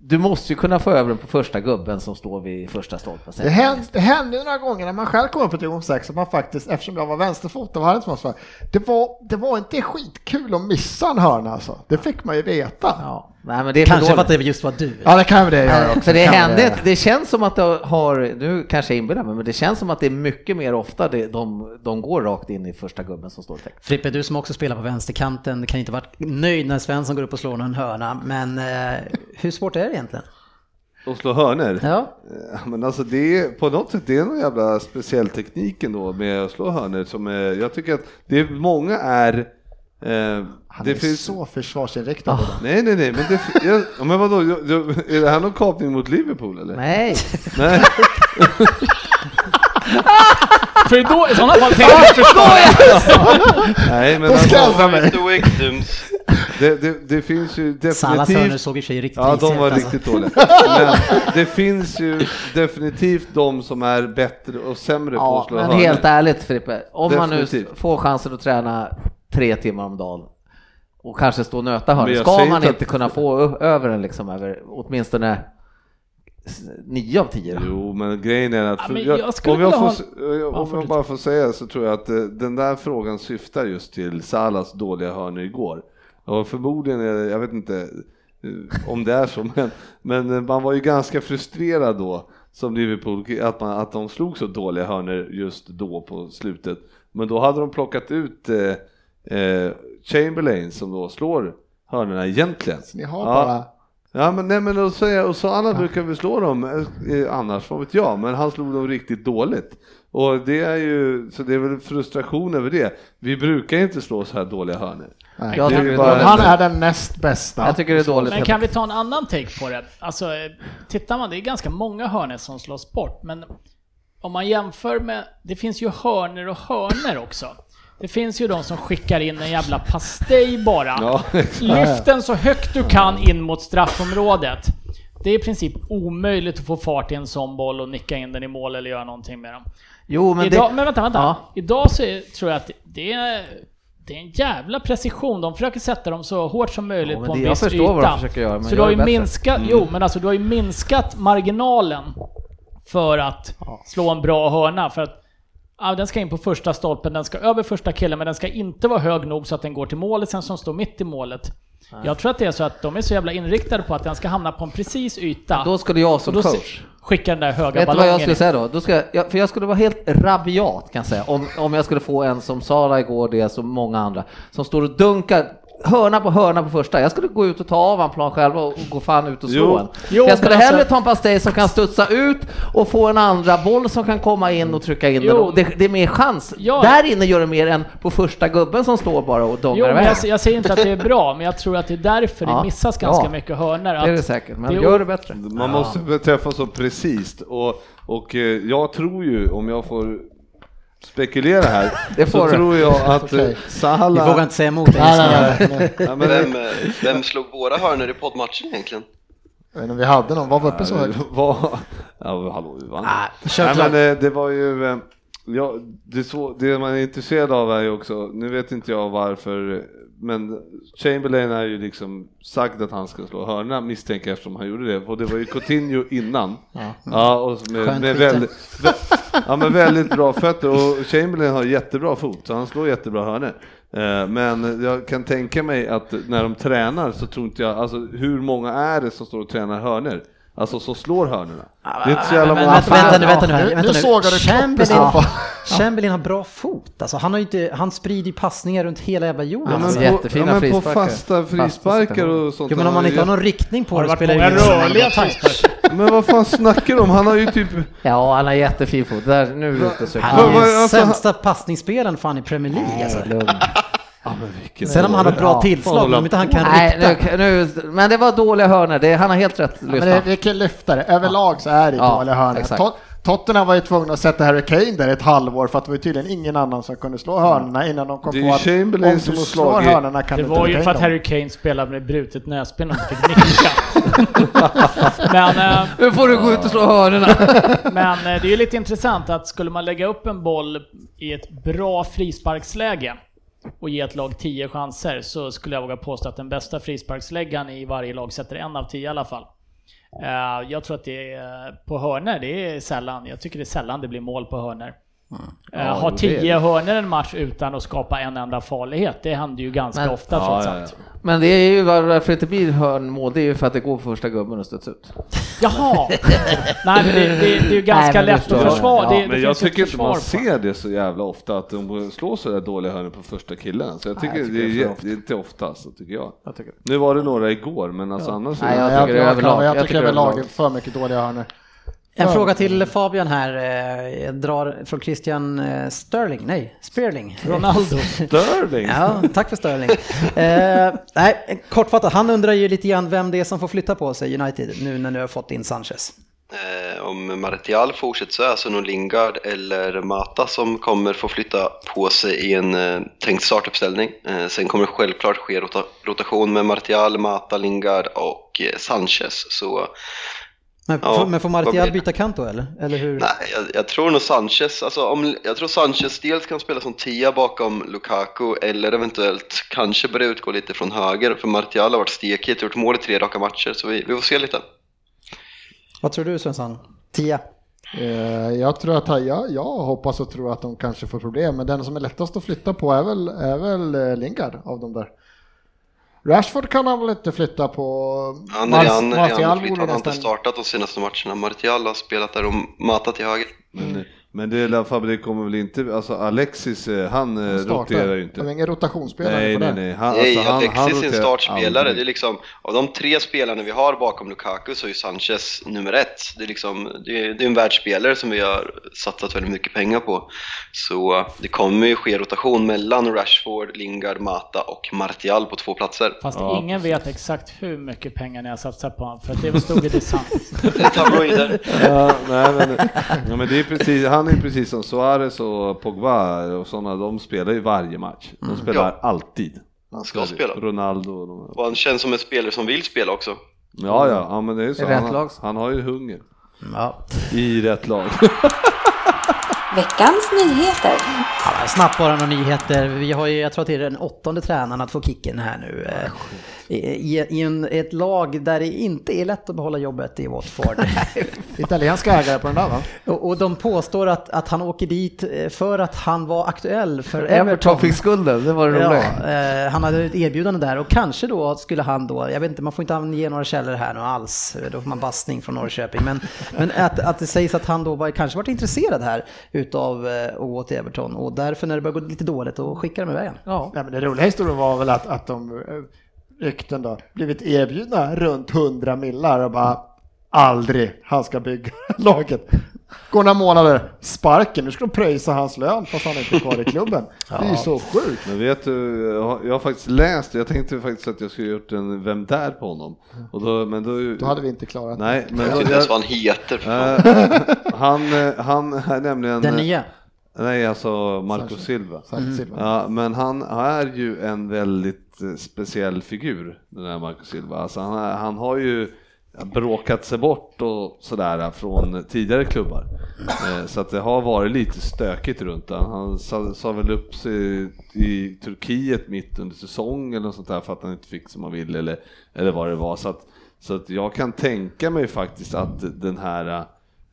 Du måste ju kunna få över den på första gubben som står vid första stolpen. Det hände, det hände ju några gånger när man själv kom upp på division 6 att man faktiskt, eftersom jag var vänsterfotad, var det, inte så det, var, det var inte skitkul att missa en hörna alltså. Det fick man ju veta. Ja, Ja, nej men det är för Kanske för dåligt. att det just var du. det kan väl det göra också. Så det kan väl hände, göra. ett- det känns som att det har, nu kanske jag inbillar mig, men det känns som att det är mycket mer ofta det, de, de går rakt in i första gubben som står i text. Frippe, du som också spelar på vänsterkanten kan inte varit nöjd när Svensson går upp och slår en hörna, men eh, hur svårt är det egentligen? Och slå hörner. Ja. Ja, Men alltså det är, på något sätt, det är någon jävla speciell teknik ändå med att slå hörner som är, jag tycker att det är, många är, eh, Han det är finns så försvarsinriktad. Ah. Nej nej nej, men, det, fi- jag, ja, men vadå, jag, jag, är det här någon kapning mot Liverpool eller? Nej, nej. För då, i sådana fall tänker jag förstå. Nej, men Då ska jag alltså, ändra mig. The victims. det, det, det finns ju Salas hörnor definitivt såg i och för sig riktigt Ja, de risiga var ut, alltså. riktigt dåliga. Men det finns ju definitivt de som är bättre och sämre på ja, att slå men hörnor. helt ärligt Frippe, om man nu Definitivt. får chansen att träna tre timmar om dagen och kanske stå och nöta hörn, Men jag ska säger man inte inte att- kunna få ö- över den liksom över åtminstone s- nio av tio? då? Jo, men grejen är att Ja, för, men jag, jag skulle om, jag vilja får, ha- s- eh, Ja, om jag fortsätt. bara får säga så tror jag att eh, den där frågan syftar just till Salas dåliga hörnor igår. Och förmodligen är det, jag vet inte eh, om det är så, men, men eh, man var ju ganska frustrerad då som Liverpool att, man, att de slog så dåliga hörnor just då på slutet. Men då hade de plockat ut eh, eh, Chamberlain som då slår hörnorna egentligen. Ni har Ja. bara... Ja men nej men då säger jag, och så alla brukar vi slå dem eh, eh, annars, vad vet jag, men han slog dem riktigt dåligt. Och det är ju, så det är väl frustration över det. Vi brukar inte slå så här dåliga hörnor. Nej. Jag Det är tycker det är bara- dåligt. Han är den näst bästa. Jag tycker det är dåligt. Men kan vi ta en annan take på det? Alltså, eh, tittar man, det är ganska många hörnor som slås bort, men om man jämför med, det finns ju hörnor och hörnor också. Det finns ju de som skickar in en jävla pastej bara. Ja, Lyft den så högt du kan in mot straffområdet. Det är i princip omöjligt att få fart i en sån boll och nicka in den i mål eller göra någonting med den. Jo, men Idag, det... men vänta, vänta. Ja. Idag så är, tror jag att det är, det är en jävla precision. De försöker sätta dem så hårt som möjligt Ja, men på en det- jag viss förstår yta. vad de försöker göra, men så jag du har är ju bättre. Mm. minskat, jo men alltså du har ju minskat marginalen för att slå en bra hörna. För att ja, den ska in på första stolpen, den ska över första killen, men den ska inte vara hög nog så att den går till målet sen som står mitt i målet. Jag tror att det är så att de är så jävla inriktade på att den ska hamna på en precis yta. Då skulle jag och som då se- coach skickar den där höga Vet du vad ballongen jag skulle in. säga då? då ska jag, jag, för jag skulle vara helt rabiat kan jag säga, om, om jag skulle få en som Sara igår, det är som många andra, som står och dunkar hörna på hörna på första. Jag skulle gå ut och ta av en plan själv och och gå fan ut och slå Jo. en. Jo, jag skulle men alltså- hellre ta en pastej som kan studsa ut och få en andra boll som kan komma in och trycka in den. Jo. Och Det, det är mer chans. Ja. Där inne gör det mer än på första gubben som står bara och Jo, dongar men alltså, iväg. jag, jag säger inte att det är bra, men jag tror att det är därför Ja. det missas ganska Ja. mycket hörnor. Det är det Att, säkert, men det är gör o- det bättre. Man måste väl träffa så precis och, och eh, jag tror ju, om jag får spekulera här, Det får så du. tror jag att eh, Okej. Vi Salah... vågar inte säga emot dig Nej, just nej, nu. nej, nej. nej. Ja, men, Vem, eh, vem slog våra hörnor i poddmatchen egentligen? Jag vet inte, vi hade någon, vad var uppe så eh, högt? vad- ja, men hallå, vi vann. kör Nej, klart. men eh, det var ju... eh, Ja, det, är så, det man är intresserad av är ju också, nu vet inte jag varför, eh, men Chamberlain är ju liksom sagt att han ska slå hörna misstänker jag eftersom han gjorde det, och det var ju Coutinho innan. Ja, och med, Skönt med byte. väldigt, vä- ja, men väldigt bra fötter och Chamberlain har jättebra fot så han slår jättebra hörnor. Eh, Men jag kan tänka mig att när de tränar så tror inte jag, alltså hur många är det som står och tränar hörnor? Alltså som slår hörnorna? Det är inte så jävla Men många. vänta, vänta nu, fan, vänta nu. ja. här, Nu- vänta nu sågar du kroppen i så fall. Chamberlain, Chamberlain har bra fot. Alltså, han, har ju inte, han sprider ju passningar runt hela jävla jorden. Ja, men alltså. på, jättefina ja, men på frisparkar. fasta frisparkar och sånt. Jo, men om man inte har någon riktning på har det det varit spelar många ingen roll. rörliga frisparkar? Men vad fan snackar du om? Han har ju typ... Ja, han har jättefin fot. Där, nu är vi ute och söker. Han Vad- är vad- den alltså, sämsta passningsspelaren fan i Premier League. Alltså. Vilken Sen om han har bra tillslag, men om inte han kan rikta. Nej, nu, nu, men det var dåliga hörnor. Det, han har helt rätt. Men lyssna. det, det kan lyfta det. Överlag så är det Ja, dåliga hörnor. exakt. Tot- Tottenham var ju tvungna att sätta Harry Kane där ett halvår för att det var ju tydligen ingen annan som kunde slå hörnorna innan de kom Det är på ju att Chamberlain om som du har slår slagit- hörnorna kan Det du var inte ju för trycka att in Harry Kane spelade med brutet näsben och inte fick nicka. men, eh, Nu får du gå ut och slå hörnorna. men eh, det är ju lite intressant att skulle man lägga upp en boll i ett bra frisparksläge och ge ett lag 10 chanser så skulle jag våga påstå att den bästa frisparksläggaren i varje lag sätter en av 10 i alla fall. Eh, jag tror att det är på hörner det är sällan. Jag tycker det är sällan det blir mål på hörner. Eh, Ja, ha jo, det är 10 hörner en match utan att skapa en enda farlighet, det händer ju ganska Men- ofta trots allt. Men det är ju varför det inte blir hörnmål, det är ju för att det går på första gubben och stöts ut. Jaha! Nej men det, det, det är ju Nej, ganska men lätt förstår att jag. försvara. Ja, det, det Men jag finns ju ett tycker inte man försvar på. ser det så jävla ofta, att de slår sådär dåliga hörnor på första killen. Så jag tycker, tycker det, är, det är för jä- det är inte ofta, så tycker jag. Jag tycker det. Nu var det några igår, men alltså annars... Nej, dem. jag Jag tycker det är jag- överlag. Jag tycker överlag är för mycket dåliga hörnor. En fråga till Fabian här. eh, Jag drar från Christian eh, Sterling. Nej, Spearling. Ronaldo. Sterling! Ja, tack för Sterling. Eh, nej, kortfattat, han undrar ju lite grann vem det är som får flytta på sig United nu när ni har fått in Sanchez. Eh, om Martial fortsätter så är det alltså nog Lingard eller Mata som kommer få flytta på sig i en eh, tänkt startuppställning. Eh, sen kommer det självklart ske rota- rotation med Martial, Mata, Lingard och eh, Sanchez. Så Men, Ja, får- men får vad blir Martial det? byta kant då eller? Eller hur? Nej, jag, jag tror nog Sanchez, alltså om, jag tror Sanchez dels kan spela som tia bakom Lukaku eller eventuellt kanske börja utgå lite från höger för Martial har varit stekhet, gjort mål i tre raka matcher så vi, vi får se lite. Vad tror du Svensson? Tia? Eh, Jag tror att jag, jag hoppas och tror att de kanske får problem, men den som är lättast att flytta på är väl, är väl eh, Lingard av de där. Rashford kan han väl inte flytta på? Ja, Mars- Nerian Martial borde har inte nästan- startat de senaste matcherna, Martial har spelat där och matat till höger. Men, men det är i alla fall, det kommer väl inte... Alltså Alexis, eh, han, eh, Han startar. roterar ju De är inte. ingen rotationsspelare Nej, för nej, det. nej. Han, Nej, alltså, han, han Alexis är en roterar startspelare. aldrig. Det är liksom, av de tre spelarna vi har bakom Lukaku så är ju Sanchez nummer ett. Det är, liksom, det är, det är en världsspelare som vi har satsat väldigt mycket pengar på. Så det kommer ju ske rotation mellan Rashford, Lingard, Mata och Martial på två platser. Fast Ja, ingen vet exakt hur mycket pengar ni har satsat på honom, för att det stod i det sant. Det är tabloider. Ja, nej, men, ja, men det är precis, han är ju precis som Suarez och Pogba och sådana, de spelar ju varje match. De spelar Mm. Ja. alltid. Han ska spela. Ronaldo och de Och han känns som en spelare som vill spela också. Ja, ja, ja, men det är ju så. I rätt Han, lag. har- han har ju hunger. Ja. I rätt lag. Veckans nyheter. Ja, snabbt bara några nyheter. Vi har ju, jag tror att det är den åttonde tränaren att få kicken här nu. eh, I, i, i en, ett lag där det inte är lätt att behålla jobbet i Watford. Italienska ägare på den där va? och, och de påstår att, att han åker dit eh, för att han var aktuell för Everton Everton. fick skulden, det var det Ja, roliga. eh, han hade ett erbjudande där och kanske då skulle han då, jag vet inte, man får inte ange några källor här nu Eh, alls, då får man bastning från Norrköping. Men, men att, att det sägs att han då var, kanske varit intresserad här utav eh, att gå till Everton. Och därför när det börjar gå lite dåligt, då skickar de iväg honom. Ja. Nej, men den roliga historien var väl att, att de eh, rykten då blivit erbjudna runt 100 millar och bara aldrig han ska bygga laget. Går några månader, sparken, nu ska de pröjsa hans lön fast han inte är kvar i klubben. Det är ju så sjukt. Men vet du, jag har- jag har faktiskt läst det. Jag tänkte faktiskt att jag skulle gjort en Vem där på honom. Och då, men då, Då hade vi inte klarat Nej, men Jag vet då, jag, inte ens vad han heter. för fan. eh, han, eh, han är nämligen... Den nya. Nej, alltså Marco Silva. det. Mm. Silva. Ja, men han är ju en väldigt eh, speciell figur, den här Marco Silva. Alltså han, är- han har ju bråkat sig bort och sådär eh, från tidigare klubbar. Eh, Så att det har varit lite stökigt runt han. Han sa, sa väl upp sig i Turkiet mitt under säsong eller något sånt där för att han inte fick som han ville eller, eller vad det var. Så att, så att jag kan tänka mig faktiskt att den här eh,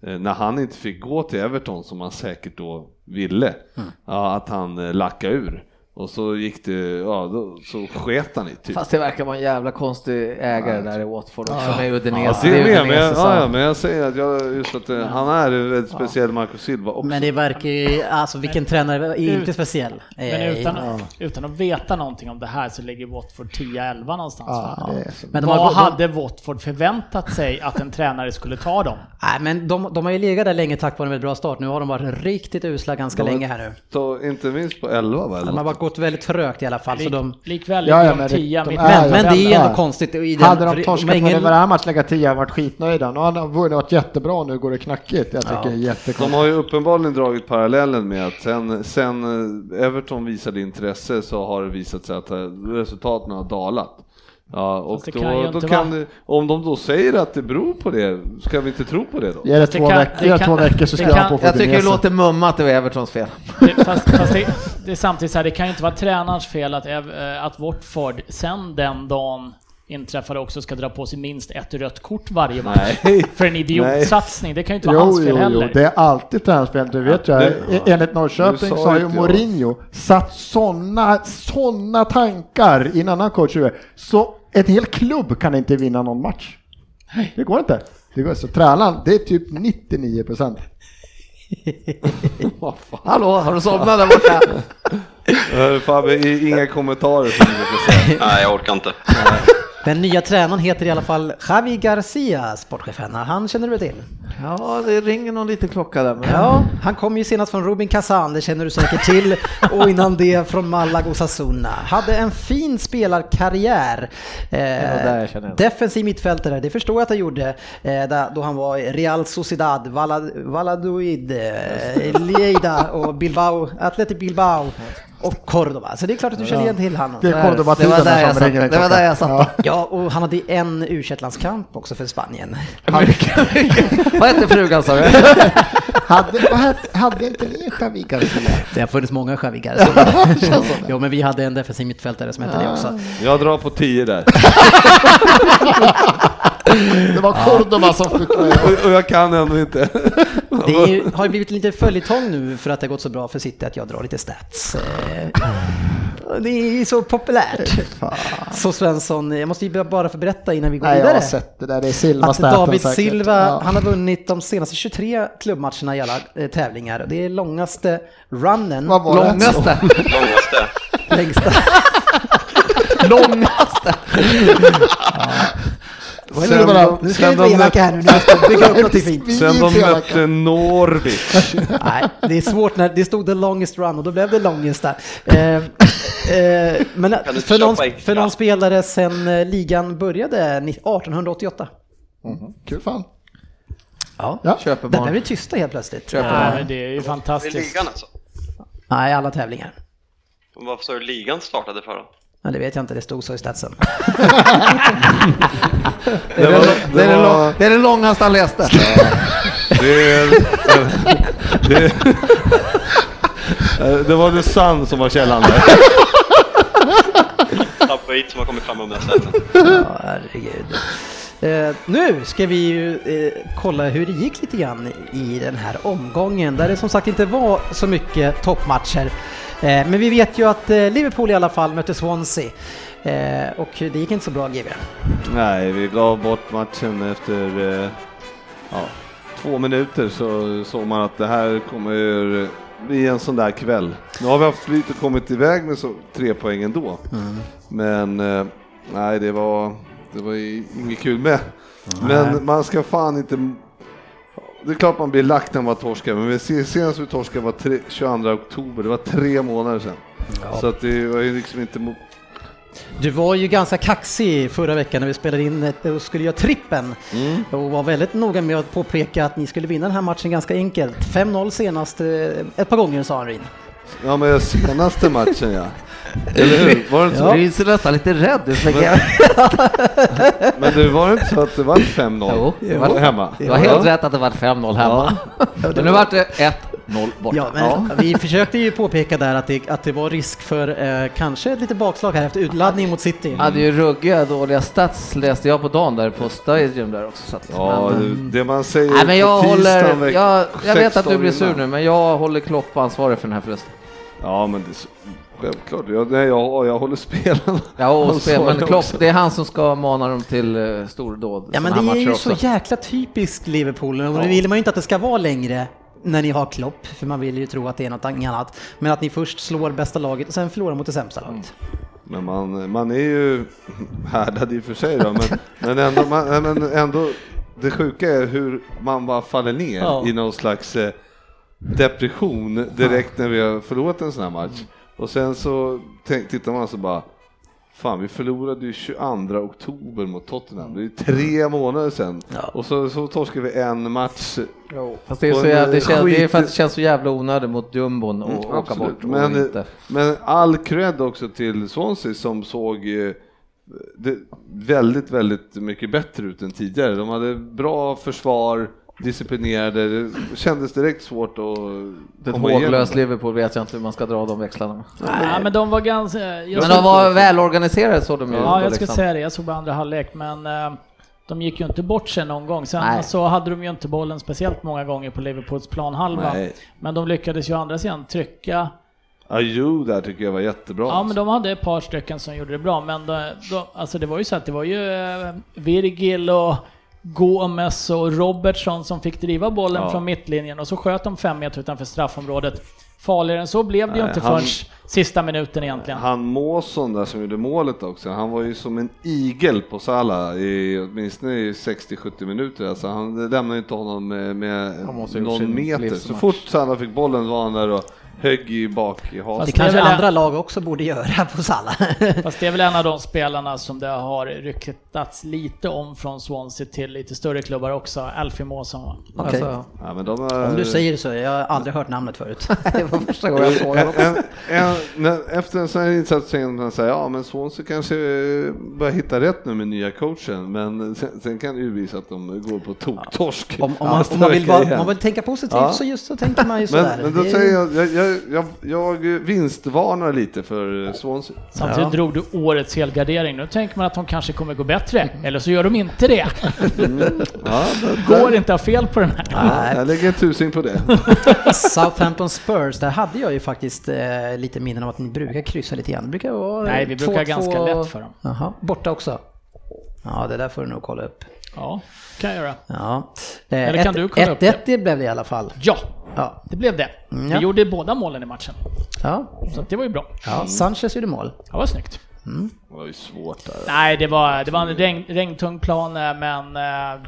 Eh, när han inte fick gå till Everton som han säkert då ville, Mm. ja, att han eh, lackade ur. Och så gick det, ja då, så sket han i typ. Fast det verkar vara en jävla konstig ägare där i Watford också med Udinese. det är med, men jag, Udinese, så- ja, ja, men jag säger att jag, just att eh, han är en väldigt speciell Marco Silva också. Men det verkar ju, alltså vilken tränare är inte speciell. Eh, Men utan, utan att veta någonting om det här så ligger Watford 10-11 någonstans. va? Ja, det är så. Men de Vad har, de, hade Watford förväntat sig att en tränare skulle ta dem? nej, men de, de har ju legat där länge tack vare en väldigt bra start. Nu har de varit riktigt usla ganska De har- länge här nu. Så inte minst på 11 va? eller De har något? bara gått väldigt trögt i alla fall. Så Lik, de, Likväl Ja, ja, ligger de men 10 de mitt på är men, men det är ju ja. ändå konstigt. I den, Hade de för- torskat har på ingen- Leverham match lägga 10 varit skitnöjda. Nu har de vunnit varit jättebra, nu går det knackigt. Jag tycker det är De jättekonstigt. har ju uppenbarligen dragit parallellen med att sen, sen eh, Everton visade intresse så har det visat sig att eh, resultaten har dalat. Ja, och Fast det då, kan ju då inte kan vara- det, om de då säger att det beror på det, ska vi inte tro på det då? Ge det två kan- veckor- det ge det kan- två veckor så det skriver han kan- på för Jag tycker det Udinese. låter mumma att det var Evertons fel. Det, fast fast det, det är samtidigt så här, det kan ju inte vara tränarens fel att, Ev- eh, att Watford sen den dagen inträffade också ska dra på sig minst ett rött kort varje match. Nej. För en idiotsatsning, det kan ju inte vara hans Jo, fel jo, jo, heller. det är alltid tränarspel. Du vet ju, e- det- enligt Norrköping Nu sa sa ju inte jag. Mourinho, satt sådana såna tankar i en annan coach huvud. Så en hel klubb kan inte vinna någon match. Det går inte. Det går, så tränaren, det är typ 99 procent. Hallå, har du somnat där borta? Eh, Fabbe, i- inga kommentarer. som du brukar säga. Nej, jag orkar inte. Den nya tränaren heter i alla fall Javi Garcia, sportchefen. Han känner du väl till? Ja, det ringer någon liten klocka där. Men... Ja, han kom ju senast från Rubin Kazan, det känner du säkert till. Och innan det från Malaga och Sasuna. Hade en fin spelarkarriär. Eh, där jag känner igen. defensiv mittfältare, det förstår jag att han gjorde. Eh, där, då han var i Real Sociedad, Valad, Valladolid, eh, Lleida och Bilbao, Athletic Bilbao och Cordoba. Så det är klart att du känner igen till honom. Det kommer att vara Det var där tiden jag som satt. ringer en Det var klocka. där jag satt. Ja, och han hade en u också för Spanien. Vad hette frugan sa du? Ja. Hade, vad hette- hade inte ni en Javi Garcia? Det har funnits många skävigar. som- jo, men vi hade en defensiv mittfältare som hette det också. Jag drar på 10 där. Det var Cordoba som fick Och, och jag kan ändå inte. Det är, ju- har ju blivit lite följetong nu för att det har gått så bra för City att jag drar lite stats. Eh, och Det är ju så populärt. Så Svensson, jag måste ju bara få berätta innan vi går Nej, jag har vidare. sett det där. Det är Silva Att staten David säkert. Silva, Ja. han har vunnit de senaste 23 klubbmatcherna i alla eh, tävlingar. Och Det är långaste runnen, Vad var det? Långaste. Långaste. längsta. Långaste. Nu Sen ska de- vi sen inte vara de elaka här nu, nu måste vi bygga upp något fint. Vi Sen är de inte mötte Norwich. Nej, det är svårt när det stod the longest run och då blev det longest där. Eh, eh, men du för någon, köpa extra? för någon spelare sedan eh, ligan började ni- 1888. Mhm. Kul fan. Ja. Ja. Köper Där blev barn. vi tysta helt plötsligt. Nej, Köper men det är ju Det är fantastiskt. ligan alltså. Nej, alla tävlingar. Varför sa du ligan startade för då? Men det vet jag inte, det stod så i statsen. Det var, det, det är det, var, lång, det är det långaste han läste. det, är- det, Eh, det var The Sun som var källan där. Tabloid som har kommit fram om den här ställningen. Ja, herregud. Eh, nu ska vi ju eh, kolla hur det gick lite grann i den här omgången där det som sagt inte var så mycket toppmatcher. Eh, men vi vet ju att eh, Liverpool i alla fall mötte Swansea eh, och det gick inte så bra GB. Nej, vi gav bort matchen efter eh, ja, två minuter så såg man att det här kommer bli en sån där kväll. Nu har vi haft flyt och kommit iväg med så, tre poäng ändå. Men eh, nej, det var, det var ju inget kul med. Men man ska fan inte... Det är klart man blir lack när man torskar, men vi ser- senast vi torskade var tre, 22 oktober, det var tre månader sedan. Så att det var ju liksom inte... mo- Du var ju ganska kaxig förra veckan när vi spelade in ett- och skulle göra trippen och var väldigt noga med att påpeka att ni skulle vinna den här matchen ganska enkelt. 5-0 senast, eh, ett par gånger sa Henrin. Ja, men senaste matchen ja. Eller hur? Var det inte så? Du är så nästan lite rädd. Du slänger- Men du var det inte så att det var 5-0 Jo, det var- hemma? Du har helt rätt att det var 5-0 hemma. Men nu vart det 1-0 borta. Ja, men Vi försökte ju påpeka där att det, att det var risk för eh, kanske ett litet bakslag här efter utladdning mot City. hade ju ruggiga dåliga stats läste jag på dagen där på Stadium där också. Så att, Ja, men, eh, det, det man säger nej, men jag på tisdagen håller, veck- jag, jag vet att 16 du blir sur innan. nu, men jag håller Klopp ansvarig för den här förlusten. Ja, men det är så- självklart. Jag, nej, jag, jag håller spelarna. Ja, och spel, ansvariga men Klopp, också. det är han som ska mana dem till eh, stordåd. Ja men såna här det är matcher ju också. så jäkla typiskt Liverpool och nu vill man ju inte att det ska vara längre när ni har Klopp, för man vill ju tro att det är något annat. Men att ni först slår bästa laget och sen förlorar mot det sämsta laget. Men man, man är ju härdad i och för sig då, men, men, ändå, man, nej, men ändå, det sjuka är hur man bara faller ner Ja. i någon slags eh, depression direkt när vi har förlorat en sån här match. Och sen så tänk, tittar man så bara, fan vi förlorade ju 22 oktober mot Tottenham, det är ju tre månader sedan. Och så, så torskar vi en match. Fast det, är Och så en, jävla, det, eh, känns, det är för att skit- Mm, det känns så jävla onödigt mot jumbon och åka Absolut. bort. Och men, inte. men all cred också till Swansea som såg eh, det, väldigt, väldigt mycket bättre ut än tidigare. De hade bra försvar, disciplinerade, det kändes direkt svårt att Ett komma igenom. håglöst Liverpool vet jag inte hur man ska dra de växlarna. Nej, men de var ganska... Jag Men såg- de var välorganiserade såg de ju. liksom. Ja, jag skulle Leksand. säga det. Jag såg bara andra halvlek, men eh, de gick ju inte bort sig någon gång. Sen Nej. så hade de ju inte bollen speciellt många gånger på Liverpools planhalva. Nej. Men de lyckades ju å andra sidan trycka. Ayew där tycker jag var jättebra. Ja, men de hade ett par stycken som gjorde det bra, men de, de, alltså det var ju så att det var ju eh, Virgil och Gomes och Robertson som fick driva bollen Ja. från mittlinjen och så sköt de fem meter utanför straffområdet. Farligare än så blev det ju Nej, inte han- förrän sista minuten egentligen. Han Måsson där som gjorde målet också, han var ju som en igel på Salah i åtminstone i 60-70 minuter. Alltså, han lämnade inte honom med, med Han måste ha gjort någon sin meter. Så livsmatch. fort Salah fick bollen var han där och högg i bak i hasen. Det Fast det kanske är väl- andra lag också borde göra på Salla. Fast det är väl en av de spelarna som det har ryktats lite om från Swansea till lite större klubbar också, Alfie Måsson va? Okej. Alltså, Ja, men de är... Om du säger så, jag har aldrig hört namnet förut. det var första gången jag såg en, honom. en, en, när- Efter en sån här insats tänker man säga ja men Swansea kanske eh, börjar hitta rätt nu med nya coachen men sen, sen kan det ju visa att de går på tok-torsk. Om, om, man, om man, vill vara, om man vill tänka positivt Ja. så just så tänker man ju sådär. men, men då Det är- säger jag, jag, jag, jag, jag vinstvarnar lite för eh, Swansea. Samtidigt Ja. drog du årets helgardering. Nu tänker man att de kanske kommer gå bättre, eller så gör de inte det. Ja, Går inte att ha fel på den här. ja, jag lägger en tusing på det. Southampton Spurs, där hade jag ju faktiskt eh, lite minnen om att ni brukar kryssa lite grann. Det brukar vara Nej, vi brukar ganska lätt för dem. Jaha, borta också. Ja, det där får du nog kolla upp. Ja, kan jag göra. Ja. Eh, Eller kan du kolla upp 1-1 det blev det i alla fall. Ja, Ja. det blev det. ja. Vi gjorde båda målen i matchen, Ja. så att det var ju bra. Mm. ja, Sanchez gjorde mål. Det var snyggt. Det var ju svårt där. Nej, det var, det var en regn, regntung plan, eh, men eh,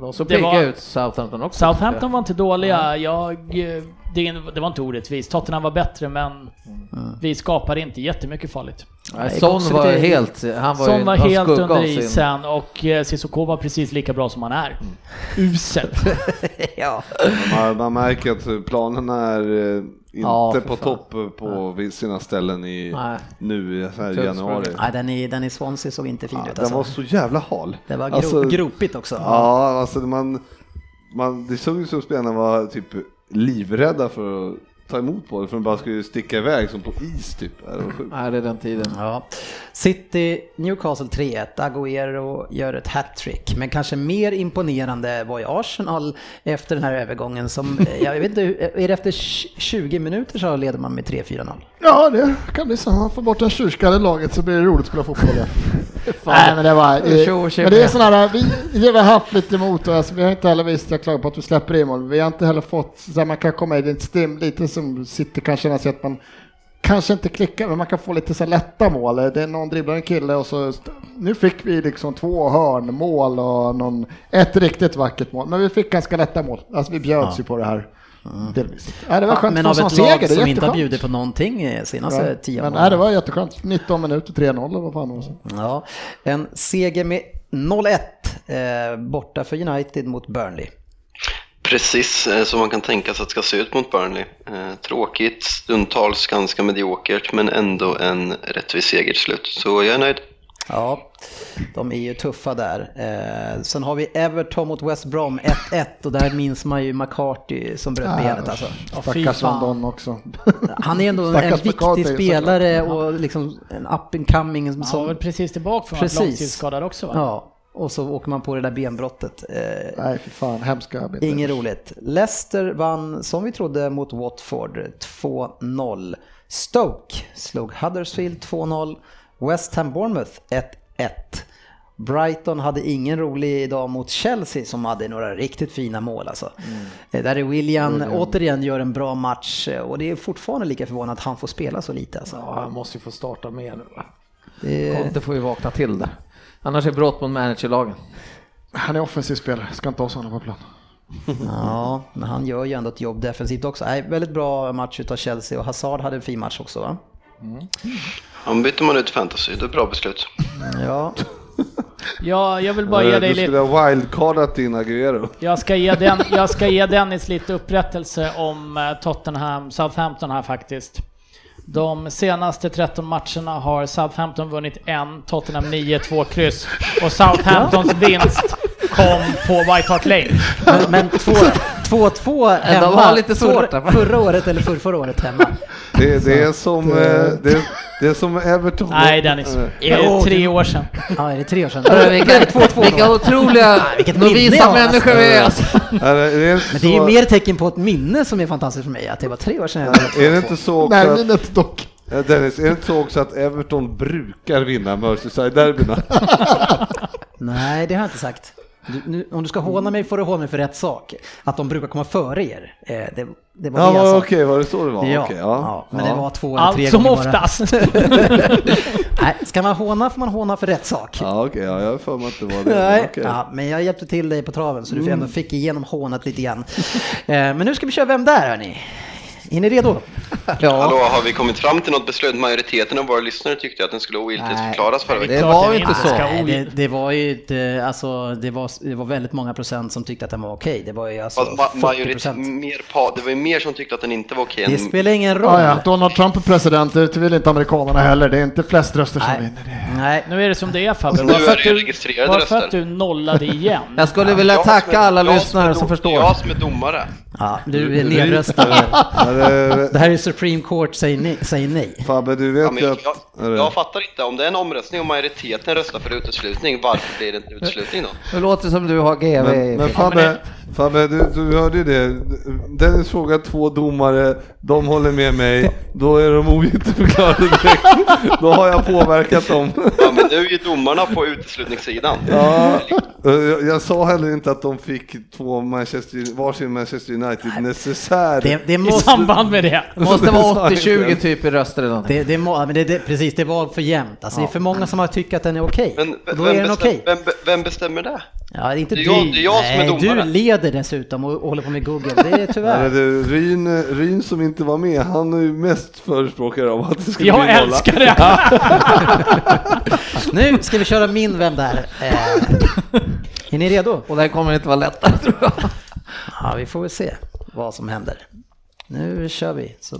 De såg Det pigga var- ut Southampton också. Southampton var inte dåliga. Jag, eh, det, det var inte orättvist. Tottenham var bättre, men Mm. vi skapade inte jättemycket farligt. Nej, Nej, Son Gosset var är- helt, han var ju Som en- var en helt skugga av under sin- isen och eh, Cissoko var precis lika bra som han är. Mm. Usel. ja. Man, man märker att planerna är eh, inte Ja, för på fan. topp eh, på sina ställen i, Nej. nu i så här Tullsburg. januari. Nej, den i, den i Swansea såg inte fin Ja, ut den alltså. var så jävla hal. Det var gro- Alltså, gropigt också. Ja, alltså det man, man, det såg ju som spelarna var typ livrädda för att ta emot bollen för de bara skulle sticka iväg som på is typ. Ja, Det var sjukt. Nej, det är den tiden. Ja. City, Newcastle 3-1. Agüero gör ett hattrick. Men kanske mer imponerande var ju Arsenal efter den här övergången som, eh, jag vet inte, hur- är det efter 20 minuter så leder man med 3-4-0? Ja, det kan bli så. Man får bort en tjurskalle i laget så blir det roligt att spela fotboll. igen. Nej, men det var... eh, Tjo och tjim. Men det är sådana här, vi, det har vi haft lite emot och alltså, vi har inte heller visst, jag klagar på att vi släpper in mål. Vi har inte heller fått, så här, man kan komma i det stim lite som sitter kan känna sig att man kanske inte klickar, men man kan få lite så här lätta mål. Det är någon dribblar en kille och så, nu fick vi liksom två hörnmål och någon, ett riktigt vackert mål. Men vi fick ganska lätta mål, alltså vi bjöds ju på det här. Delvis. Ja, det var skönt Men att av få en ett sån lag seger, det är som inte har jätteskönt. bjudit på någonting eh, senaste Ja, tio men månaderna. nej, det var jätteskönt. 19 minuter, 3-0 eller vad fan det var. Ja, en seger med 0-1 eh, borta för United mot Burnley. Precis eh, som man kan tänka sig att det ska se ut mot Burnley. Eh, Tråkigt, stundtals ganska mediokert, men ändå en rättvis seger till slut. Så jag är nöjd. Ja, de är ju tuffa där. Eh, sen har vi Everton mot West Brom 1-1 och där minns man ju McCarthy som Ah, bröt benet alltså. Stackars fan. London också. Han är ändå en Stackars McCarthy, viktig såklart. spelare och liksom en up and coming. Han var Som, väl precis tillbaka från Precis. att långtidsskadad också va? ja, och så åker man på det där benbrottet. Eh, Nej, för fan, hemska bilder. Inget roligt. Leicester vann, som vi trodde, mot Watford 2-0. Stoke slog Huddersfield 2-0. West Ham Bournemouth 1-1. Brighton hade ingen rolig dag mot Chelsea som hade några riktigt fina mål alltså. Eh, Där är William, återigen gör en bra match eh, och det är fortfarande lika förvånande att han får spela så lite alltså. Ja, han måste ju få starta med nu va? Det- Conte får ju vakna till där. Annars är det brott mot managerlagen. Han är offensiv spelare, ska inte ha sådana på plan. Ja, men han gör ju ändå ett jobb defensivt också. Nej, väldigt bra match utav Chelsea och Hazard hade en fin match också va? Om byter man ut fantasy, det är bra beslut. Ja, Ja, jag vill bara Eh, ge dig du lite... Eh, skulle ha wildcardat in Aguero. Jag ska, ge den, jag ska ge Dennis lite upprättelse om eh, Tottenham, Southampton här faktiskt. De senaste 13 matcherna har Southampton vunnit en, Tottenham 9, två kryss. Och Southamptons vinst kom på White Hart Lane. Men- Men 2-2 hemma var lite svårt förra- där. förra året eller förra, förra året hemma. Det, det, är som, eh, det, det är som Everton. Eh, Nej Dennis, det är tre år sedan. Ja, är det tre år sedan? Hörru, vilka, Nej, 2-2 vilka då. otroliga vilket minne jag novisa har, människor vi är. Alltså. Är det, är det, Men så, det är ju mer ett tecken på ett minne som är fantastiskt för mig, att det var tre år sedan jag är det inte så också att, Närminnet dock. eh, Dennis, är det inte så också att Everton brukar vinna Merseyside-derbyna? Nej, det har jag inte sagt. Du, nu, om du ska håna mig får du håna mig för rätt sak. Att de brukar komma före er. Eh, det, det var det jag Ja, sa. okej, var det så det var? Ja, Okej, ja, men det var två eller tre Allt som gånger bara. oftast. Nej, ska man håna får man håna för rätt sak. Ja, okej, ja, jag har för mig att det var det. Nej, men okej. ja, men jag hjälpte till dig på traven så du ändå fick igenom hånet lite grann. Eh, Men nu ska vi köra Vem där hörni? Är ni redo? Hallå, Ja. har vi kommit fram till något beslut? Majoriteten av våra lyssnare tyckte att den skulle ogiltighetsförklaras förra veckan. Det Klart var den ju inte inte så. ska- Nej, eh, det, det var ju inte, alltså det var, det var väldigt många procent som tyckte att den var okej. Det var ju alltså Fast ma- 40 majorit- procent. mer pa- det var ju mer som tyckte att den inte var okej Det än spelar ingen roll. Ja, ja. Donald Trump är president, det vill inte amerikanerna heller. Det är inte flest röster som Nej, vinner. nej. Nu är det som det är Fabbe. Alltså, Nu Bara för är att det ju du, registrerade bara för att röster. du nollade igen. Jag skulle vilja Jag som tacka är- alla jag är lyssnare som dom- förstår. Jag som är domare. Ja, du är nedröstad. Men, eh, Det här är Supreme Court, säg nej. Säg nej. Fabbe, du Ja, vet men ju att... jag, är jag, det- jag fattar inte, om det är en omröstning och majoriteten röstar för uteslutning, varför blir det inte uteslutning då? Det låter som du har GV. Men, men Fabbe, Fabbe du, du hörde ju det. Dennis frågar två domare, de håller med mig, då är de ogiltigförklarade direkt. Då har jag påverkat dem. Ja, men nu är ju domarna på uteslutningssidan. Ja, Eh, jag, jag sa heller inte att de fick två Manchester, varsin Manchester United necessär. Det, det I måste... samband med det. måste det sa vara jag 80-20 inte. typ i röster eller någonting. Det, det, må- ja, men det, det, precis, det var för jämnt. Alltså, Det är för många som har tyckt att den är okej. Men Och vem, då är den bestäm, okej. vem, be- vem bestämmer det? Ja, det är inte Det är du. jag- det är jag som är Nej, du domare. leder dessutom och håller på med Google. Det är Eller tyvärr. du, Ryn, Ryn som inte var med, han är ju mest förespråkare av att det skulle bli Jag nolla. älskar det. Nu ska vi köra min Vem där? Eh, är ni redo? Och det här kommer inte vara lättare tror jag. Ja, vi får väl se vad som händer. Nu kör vi. Så.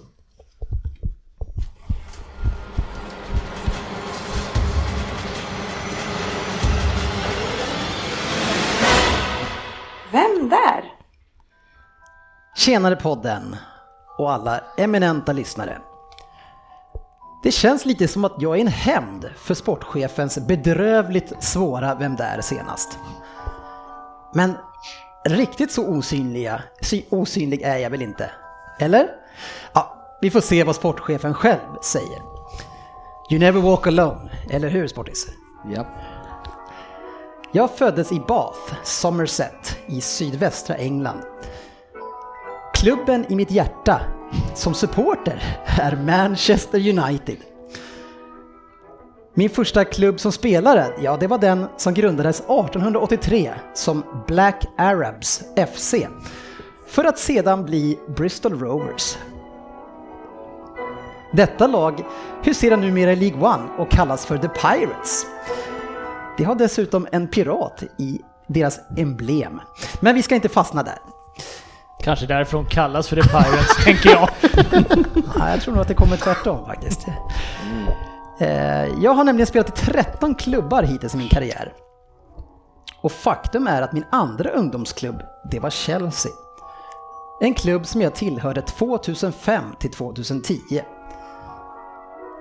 Vem där? Tjenare podden och alla eminenta lyssnare. Det känns lite som att jag är en hämnd för sportchefens bedrövligt svåra Vem där senast. Men riktigt så osynliga, sy- osynlig är jag väl inte? Eller? Ja, vi får se vad sportchefen själv säger. You never walk alone, eller hur sportis? Ja. Jag föddes i Bath, Somerset, i sydvästra England. Klubben i mitt hjärta, som supporter, är Manchester United. Min första klubb som spelare, ja det var den som grundades 1883 som Black Arabs FC. För att sedan bli Bristol Rovers. Detta lag huserar numera i League One och kallas för The Pirates. Det har dessutom en pirat i deras emblem. Men vi ska inte fastna där. Kanske därför hon kallas för The Pirates, tänker jag. Nej, jag tror nog att det kommer tvärtom faktiskt. Eh, Jag har nämligen spelat i 13 klubbar hittills i min karriär. Och faktum är att min andra ungdomsklubb, det var Chelsea. En klubb som jag tillhörde 2005 till 2010.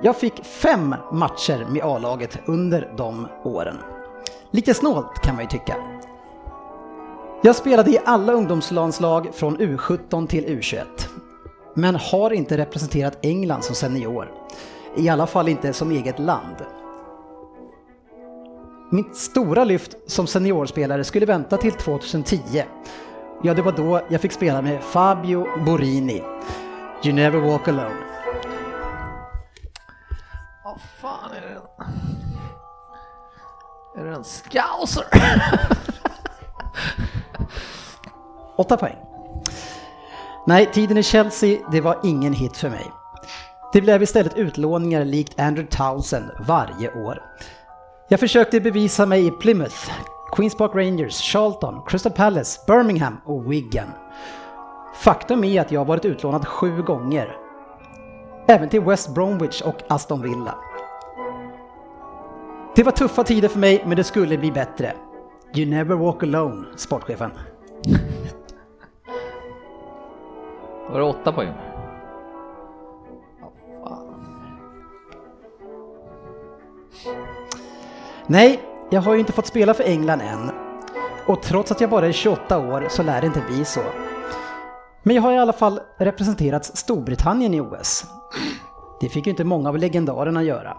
Jag fick fem matcher med A-laget under de åren. Lite snålt kan man ju tycka. Jag spelade i alla ungdomslandslag från U17 till U21. Men har inte representerat England som senior. I alla fall inte som eget land. Mitt stora lyft som seniorspelare skulle vänta till 2010. Ja, det var då jag fick spela med Fabio Borini. You never walk alone. Vad fan är det? Är det en scouser? Åtta poäng. Nej, tiden i Chelsea, det var ingen hit för mig. Det blev istället utlåningar likt Andrew Townsend varje år. Jag försökte bevisa mig i Plymouth, Queens Park Rangers, Charlton, Crystal Palace, Birmingham och Wigan. Faktum är att jag varit utlånad sju gånger. Även till West Bromwich och Aston Villa. Det var tuffa tider för mig, men det skulle bli bättre. You never walk alone, sportchefen. Var det åtta poäng? Nej, jag har ju inte fått spela för England än. Och trots att jag bara är 28 år så lär det inte bli så. Men jag har i alla fall representerat Storbritannien i OS. Det fick ju inte många av legendarerna göra.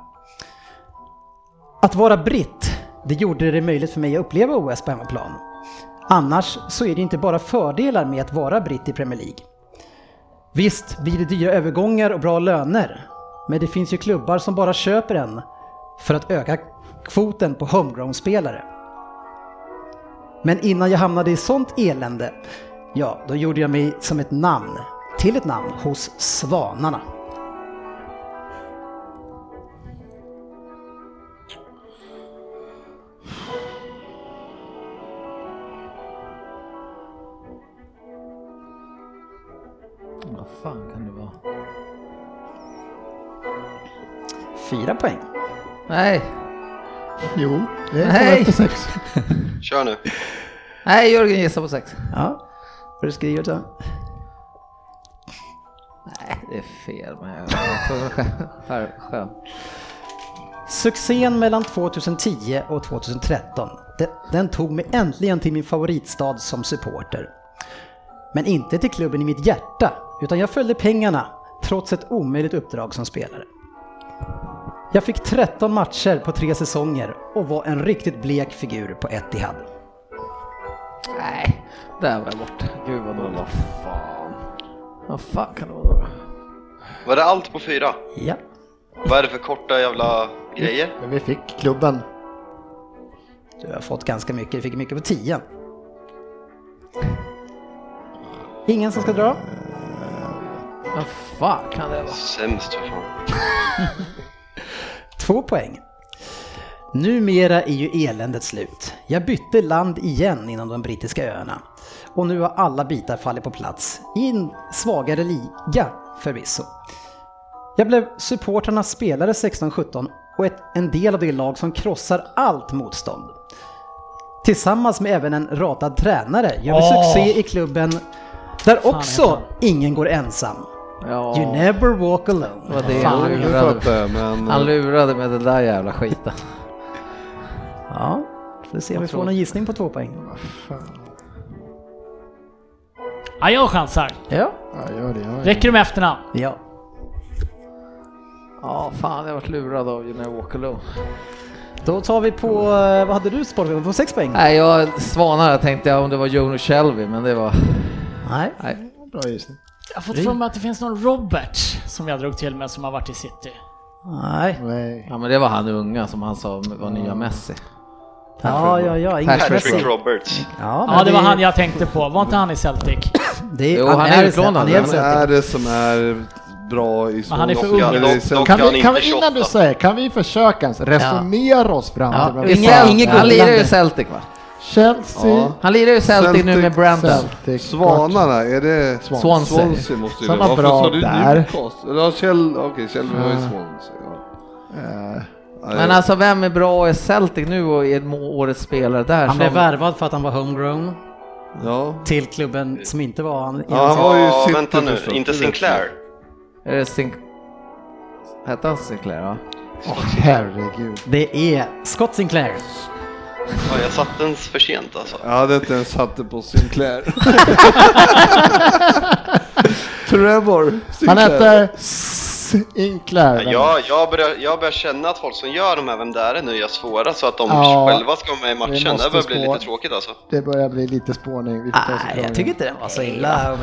Att vara britt, det gjorde det möjligt för mig att uppleva OS på hemmaplan. Annars så är det inte bara fördelar med att vara britt i Premier League. Visst blir det dyra övergångar och bra löner, men det finns ju klubbar som bara köper en för att öka kvoten på homegrown-spelare. Men innan jag hamnade i sånt elände, ja, då gjorde jag mig som ett namn, till ett namn, hos Svanarna. Vad fan kan det vara? Fyra poäng. Nej, Jo, det är Nej. Nej. efter sex. Kör nu. nej Jörgen gissar på sex. Ja, har du skrivit så? Nej, det är fel men jag Skär- skön. Succén mellan 2010 och 2013, de- den tog mig äntligen till min favoritstad som supporter. Men inte till klubben i mitt hjärta, utan jag följde pengarna trots ett omöjligt uppdrag som spelare. Jag fick 13 matcher på tre säsonger och var en riktigt blek figur på Etihad. Nej, där var jag borta. Gud vad dåligt. Vad fan. Vad fan kan det vara då? Var det allt på fyra? Ja. Vad är det för korta jävla grejer? Mm. Men vi fick klubben. Du har fått ganska mycket, du fick mycket på 10. Ingen som ska dra? Vad fan kan det vara? Sämst för fan. Två poäng. Numera är ju eländet slut. Jag bytte land igen inom de brittiska öarna. Och nu har alla bitar fallit på plats. I en svagare liga förvisso. Jag blev supporternas spelare 16-17 och ett, en del av det lag som krossar allt motstånd. Tillsammans med även en ratad tränare gör vi succé i klubben där också ingen går ensam. Ja, You never walk alone. vad det Fan, han Nu lurade. fattar jag, men... Han lurade med den där jävla skiten. Ja, får se om vi får någon gissning på två poäng. Ja, jag chansar. Ja. Ja, gör det. Gör det. Räcker det med efternamn? Ja. Ja, fan jag har varit lurad av You Never Walk Alone. Då tar vi på, eh, vad hade du sportchef? På 6 poäng? Nej, jag svanar här tänkte jag om det var Jono Shelby, men det var... Nej. Nej. Bra gissning. Jag har fått för mig att det finns någon Robert som jag drog till med som har varit i city. Nej. Nej. Ja, men det var han unga som han sa var nya Messi. Ja, ja, ja. English Messi. Patrick Roberts. Ja, men Ja, det var han jag tänkte på. Var inte han i Celtic? Det är, Jo, han, han är är utlånad. utlånad. Han är Vem är det som är bra i små han är för loppningar? ung. Eller i sällskap? Kan Kan vi, inte kan vi innan du 28. säger, kan vi försöka ens resonera oss fram Ja, till vem inget- fan inget är? Han lirar ju i Celtic va? Chelsea, Ja. Han lirar ju i Celtic, nu med Celtic- Brandon. Celtic, Svanarna, är det Swansea. Swansea måste ju Som det vara. var bra Varför sa du där. Newcastle? Eller ja, Kjell, okej, Kjell var i Swansea. Ja. Eh, Nej, Men alltså vem är bra i Celtic nu och är må- årets spelare där? Han blev som... värvad för att han var homegrown ja. till klubben som inte var han. Ja, han var ju Ja, City vänta nu, förstås, inte det vet Sinclair. Är det Sin... Hette han Sinclair? Ja. Åh, herregud. Det är Scott Sinclair. Ja, jag satte den för sent alltså. Jag hade inte ens satt det på Sinclair. Trevor Han Sinclair. heter Sinclair. Jag, jag, börjar, jag börjar känna att folk som gör de här Vem där är nu gör svåra så att de Ja, själva ska vara med i vi matchen. måste Det börjar bli spå- lite tråkigt alltså. Det börjar bli lite spårning. Vi får ta oss Nej, ifrån jag tycker inte den var så illa.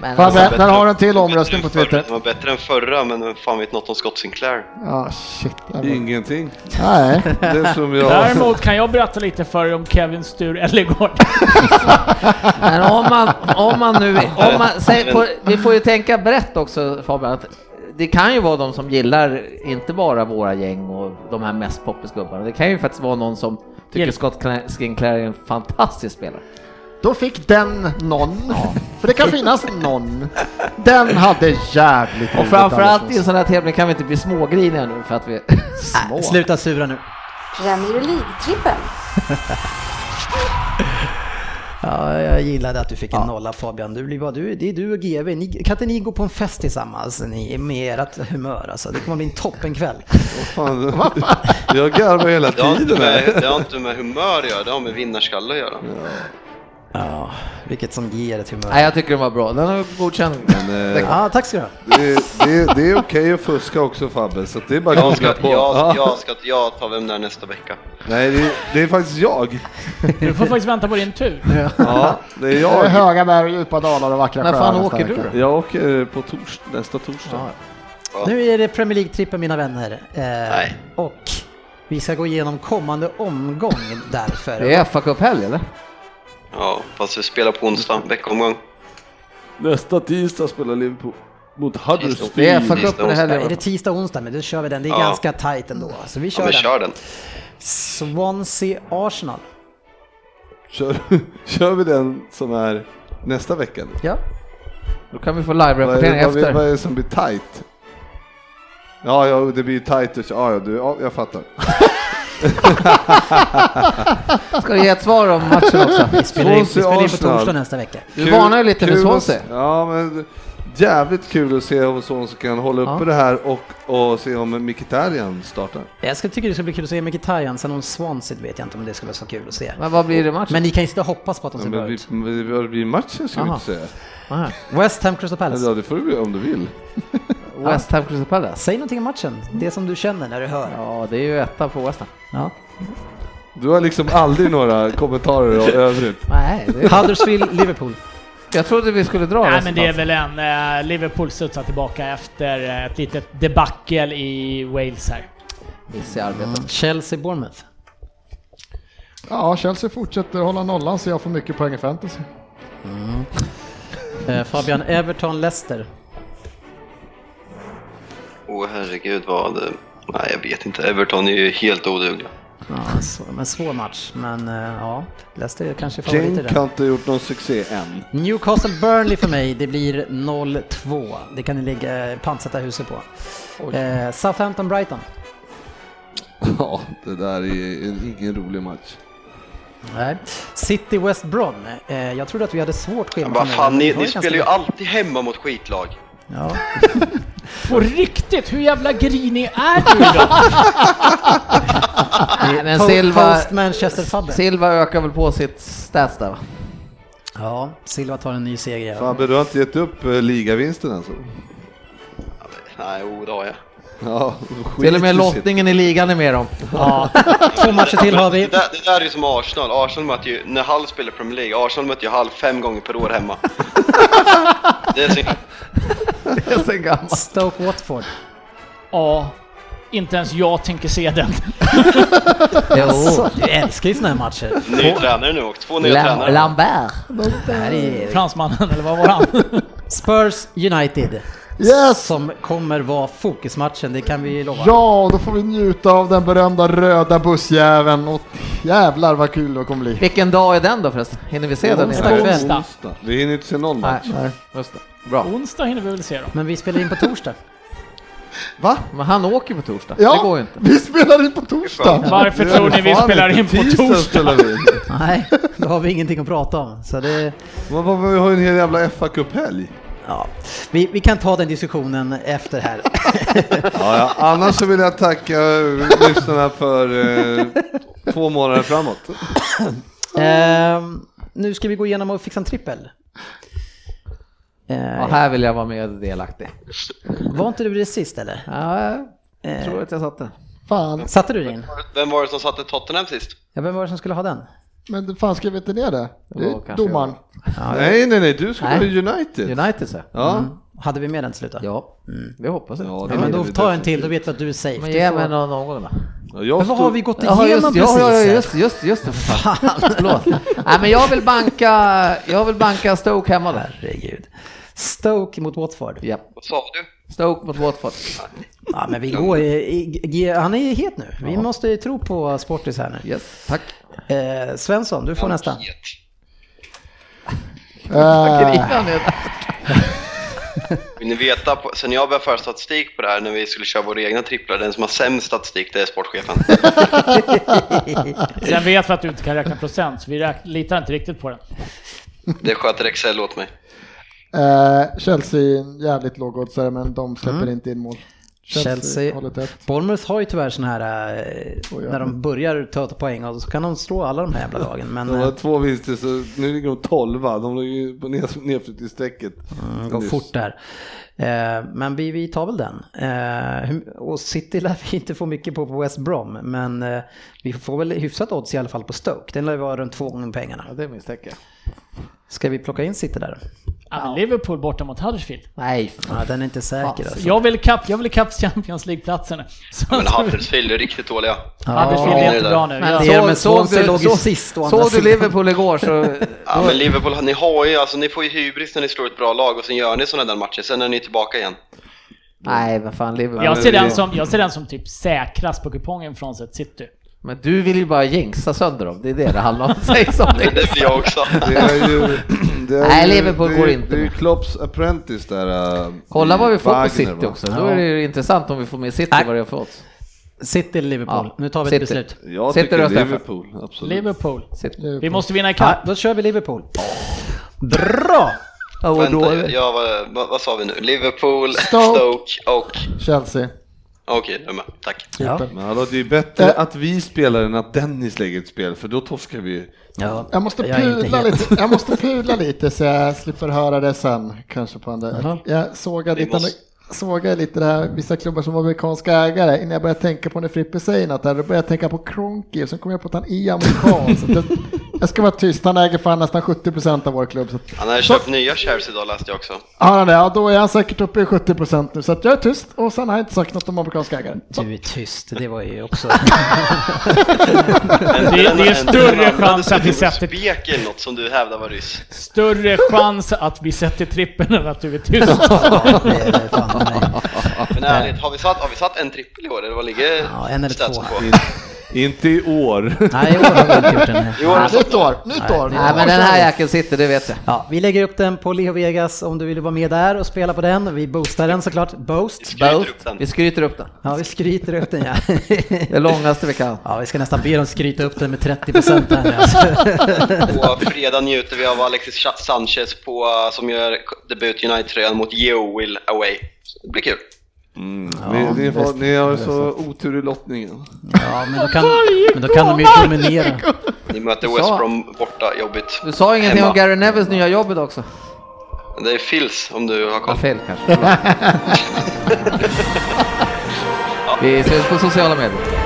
Men Fan, alltså, men- där har du en till omröstning på Bättre än Twitter. förra- Det var bättre än förra, men vem fan vet något om Scott Sinclair? det. Ja, shit. där var- Ingenting. Nej. Det som jag... Däremot kan jag berätta lite för er om Kevin Stur Ellegård. men om man, om man nu... Om man, säg, på, vi får ju tänka brett också Fabian. Att det kan ju vara de som gillar inte bara våra gäng och de här mest poppisgubbarna. Det kan ju faktiskt vara någon som tycker Gill- Scott Cla- Sinclair är en fantastisk spelare. Då fick den någon. För det kan finnas någon. Den hade jävligt Och roligt framförallt alldeles i en nyss. sån här tävling kan vi inte bli smågriniga nu för att vi... Små? Sluta sura nu. Premier League-trippen. Ja, jag gillade att du fick en nolla Fabian. Du blir bara, du, det är du och GB. Ni, kan inte ni gå på en fest tillsammans ni, med ert humör? Alltså. Det kommer bli en toppenkväll. Fan, jag garvar hela Det har, inte tiden med, det här. har inte med humör att göra, det har med vinnarskalle att göra. Ja, vilket som ger ett humör. Nej, jag tycker den var bra. Den har godkänd. Men, eh, Ja, tack ska du ha. Det, det, det är okej att fuska också Fabbe, så det är bara Jag att googla ska, på. Ja. jag, jag ska jag tar Vem där nästa vecka. Nej, det, det är faktiskt jag. Du får faktiskt vänta på din tur. Ja, det är Det är jag. höga berg, djupa dalar och vackra När sjöar. fan nästa åker du vecka. då? Jag åker på tors, nästa torsdag. Nu är det Premier League-trippen mina vänner. Eh, Nej. Och vi ska gå igenom kommande omgång därför. Det är FA-cuphelg eller? Ja, fast vi spelar på onsdag, veckomgång. Nästa tisdag spelar Liverpool mot Det är Huddersfield. FA-cupen i Är det helgen. tisdag och onsdag? Men då kör vi den. Det är Ja. ganska tight ändå. Så vi Ja, kör men den. kör den. Swansea-Arsenal. Kör, kör vi den som är nästa vecka? nu? Ja. Då kan vi få Vad är, live-rapportering det, vad, är, vad efter. är det som blir tight? Ja, ja det blir ju tight. och- Ja, ja, du, ja, jag fattar. Ska du ge ett svar om matchen också? Vi spelar in, vi Swansea, spelar in på Arsenal. torsdag nästa vecka. Du varnar ju lite för kul att- Swansea. Ja, men jävligt kul att se om Swansea kan hålla uppe Ja. det här och, och se om Mkhitaryan startar. Jag ska, tycker det ska bli kul att se Mkhitaryan, sen om Swansea vet jag inte om det skulle vara så kul att se. Men vad blir det i matchen? Men ni kan ju inte hoppas på att de Ja, ser bra men vi, ut. vi, vi, vi matchen ska vi Aha. inte säga. Aha. West Ham Crystal Eller ja, Palace. det får du om du vill. West Ham Crystal Palace? Säg någonting om matchen, det som du känner när du hör. Ja, det är ju etta på West Ham. Ja. Du har liksom aldrig några kommentarer och övrigt. Nej, det är... Huddersfield Liverpool. jag trodde vi skulle dra Nej West men det är Ham. väl en... eh, Liverpool studsar tillbaka efter eh, ett litet debacle i Wales här. Miss i arbetet. Chelsea Bournemouth. Ja, Chelsea fortsätter hålla nollan så jag får mycket poäng i fantasy. Eh, Fabian Everton Leicester. Åh herregud vad... eh, Nej, jag vet inte. Everton är ju helt odugliga. Ja, så, men svår match, men eh, ja. Leicester är kanske favorit i Genk den. har inte gjort någon succé än. Newcastle Burnley för mig, det blir 0-2. Det kan ni lägga, pantsätta huset på. Eh, Southampton Brighton. Ja, det där är en, ingen rolig match. Nej. City West Brom. Eh, jag trodde att vi hade svårt schema. Men vad framöver, fan, men det ni, var ni ganska spelar ju lätt. alltid hemma mot skitlag. Ja. På riktigt, hur jävla grinig är du då? Nej, men Po- Silva, Post Manchester Fabbe. Silva ökar väl på sitt stats där va? Ja, Silva tar en ny seger. Fabbe, du har inte gett upp eh, ligavinsten alltså? Nej, jo det har jag. Ja, Till och med skit i sitt. lottningen i ligan är med dem. Ja, två matcher till har vi. Det där, det där är ju som Arsenal. Arsenal möter ju, när Hull spelar Premier League, Arsenal möter ju Hull fem gånger per år hemma. det är så Det är så gammalt. Stoke Watford. Ja, inte ens jag tänker se den. Jo. Alltså, Du älskar ju såna här matcher. ny tränare nu också. Två nya Lam- tränare. Lambert. Det här är Fransmannen, eller vad var han? Spurs United. Yes! Som kommer vara fokusmatchen, det kan vi ju lova. Ja, då får vi njuta av den berömda röda bussjäveln och jävlar vad kul det kommer bli. Vilken dag är den då förresten? Hinner vi se den Onsdag innan? kväll. Onsdag. Vi hinner inte se någon Nej, match. nej, just det. Bra. Onsdag hinner vi väl se dem. Men vi spelar in på torsdag. Va? Men han åker på torsdag. Det går ju Ja, inte. vi spelar in på torsdag! Varför tror ni vi Fan, spelar in på tisdag torsdag? spelar vi in. Nej, då har vi ingenting att prata om. Så det, Men vad- Vi har ju en hel jävla FA-cuphelg. ja. vi, vi kan ta den diskussionen efter här. Ja, ja. Annars så vill jag tacka eh, lyssnarna för eh, två månader framåt. Ehm, nu ska vi gå igenom och fixa en trippel. Ja, Eh, här vill jag vara med och delaktig. var inte du det sist eller? Ja, Eh. jag tror att jag satt den. Fan, Satte du din? Vem var det som satte Tottenham sist? Ja, vem var det som skulle ha den? men det- fan skrev vi inte ner det? Det var är kanske domaren. Nej, nej, nej. Du ska Nej. vara i United. United så. Mm. Ja. Hade vi med den till slut? då? Ja, det hoppas jag. Ja, Ja, det Ja, men då tar jag en till, då vet vi att du är safe. men Du ge får- mig någon, någon gång då. Ja, jag Men vad stod- har vi gått igenom Jaha, just, precis? ja, ja, ja, just, just, just det. för Fan. Förlåt. Nej, men jag vill banka, jag vill banka Stoke hemma där. Herregud. Stoke mot Watford. Ja. Vad sa du? Stoke mot Watford. Ja, men vi går, i- i- i- han är het nu. Vi måste ju tro på Sportis här nu. Yes, tack. Eh, Svensson, du får nästa. Get. Eh, Grinan är- Vill ni veta, på, sen jag började föra statistik på det här när vi skulle köra våra egna tripplar, den som har sämst statistik det är sportchefen. Sen vet vi att du inte kan räkna procent, så vi räk- litar inte riktigt på den. Det sköter Excel åt mig. eh, Chelsea är en jävligt lågoddsare men de släpper Mm. inte in mål. Chelsea, Chelsea. håller tätt. Bournemouth har ju tyvärr sån här, eh, Oj, ja. när de börjar ta poäng och så kan de slå alla de här jävla lagen. Men De har eh, två vinster, så nu ligger de tolva. De ligger ju på ned- nedflyttningsstrecket. det går Mm, fort där. Eh, Men vi, vi tar väl den. Eh, hur- Och City lär vi inte få mycket på på West Brom, men eh, vi får väl hyfsat odds i alla fall på Stoke. Den lär ju vara runt två gånger pengarna. Ja, det misstänker jag. Ska vi plocka in City där? Ja, men Liverpool borta mot Huddersfield. Nej, fan. Ja, den är inte säker alltså. Jag vill kapp, jag vill kapp Champions League-platserna. Så Men att- Huddersfield är riktigt dåliga. Huddersfield är inte bra nu. Men Jag- det är de, men Swansea låg ju såg- sist å andra Såg du sidan. Liverpool igår så... Ja men Liverpool, ni har ju, alltså ni får ju hybris när ni slår ett bra lag och sen gör ni sådana där matcher, sen är ni tillbaka igen. Nej, vad fan Liverpool. Jag men ser, det- den som, jag ser den som typ säkrast på kupongen från sitt City. Men du vill ju bara jinxa sönder dem. Det är det det handlar om. Säg som det Det är. blir jag också. Det är ju... Det är Nej, ju, Liverpool det är, går inte Det är ju med. Klopps apprentice där. äh, Kolla vad vi får Wagner, på City va? också. Då är det ju intressant om vi får med City Nej. vad det har för oss. City eller Liverpool? Ja, nu tar vi ett City. beslut. Jag City tycker röstar jag för. Liverpool, absolut. Liverpool. City. Vi måste vinna Ja, ikapp. då kör vi Liverpool. Bra! Ja, och då Vänta, är jag, det- jag, var- vad, vad sa vi nu? Liverpool, Stoke. Stoke och... Chelsea. Okej, jag är med. Tack. Ja. Men hallå, det är bättre att vi spelar än att Dennis lägger ett spel, för då torskar vi. Ja, Jag måste, jag är inte pudla helt- lite, jag måste pudla lite så jag slipper höra det sen kanske på andra. Jag sågade Vi lite, måste- sågade lite det här, vissa klubbar som har amerikanska ägare innan jag började tänka på när Frippe säger något där, då började jag tänka på Kroenke och sen kom jag på att han är amerikan. så att jag, jag ska vara tyst, han äger fan nästan 70% av vår klubb. Så att, Han har köpt nya shares idag läste jag också. har han det, ja, då är han säkert uppe i 70% nu så att jag är tyst och sen har jag inte sagt något om amerikanska ägare. Så. Du är tyst, det var ju också... Det, det är större chans att vi sätter- Spek eller något som du hävdar var ryss. Större chans att vi sätter trippeln än att du är tyst. Ja, det är fan nej. Men ärligt, har vi satt, har vi satt en trippel i år eller vad ligger Ja, en eller statsen två. på? Inte i år. Mm. Nej, i år har vi inte gjort den. I år har vi satt Nytt år, nytt år. Nej, men den här jäkeln sitter, det vet jag. Ja, vi lägger upp den på Leo Vegas om du vill vara med där och spela på den. Vi boostar den såklart. Boost. Skryter upp den. Vi skryter upp den. Ja, vi skryter upp den ja. Det långaste vi kan. Ja, vi ska nästan be dem skryta upp den med 30% här nu alltså. På fredag njuter vi av Alexis Cha- Sanchez på, eh, som gör debut i United-tröjan mot Yeovil away. Så det blir kul. Mm. ni, ni, har, ni har så otur i lottningen. Ja, men då kan, men då kan de ju dominera. Ni möter Du West sa- Brom borta, jobbigt. Du sa ingenting Hemma. om Gary Neves nya jobb idag också? Det är Phils om du har Ja, koll. fel kanske. Vi ses på sociala medier.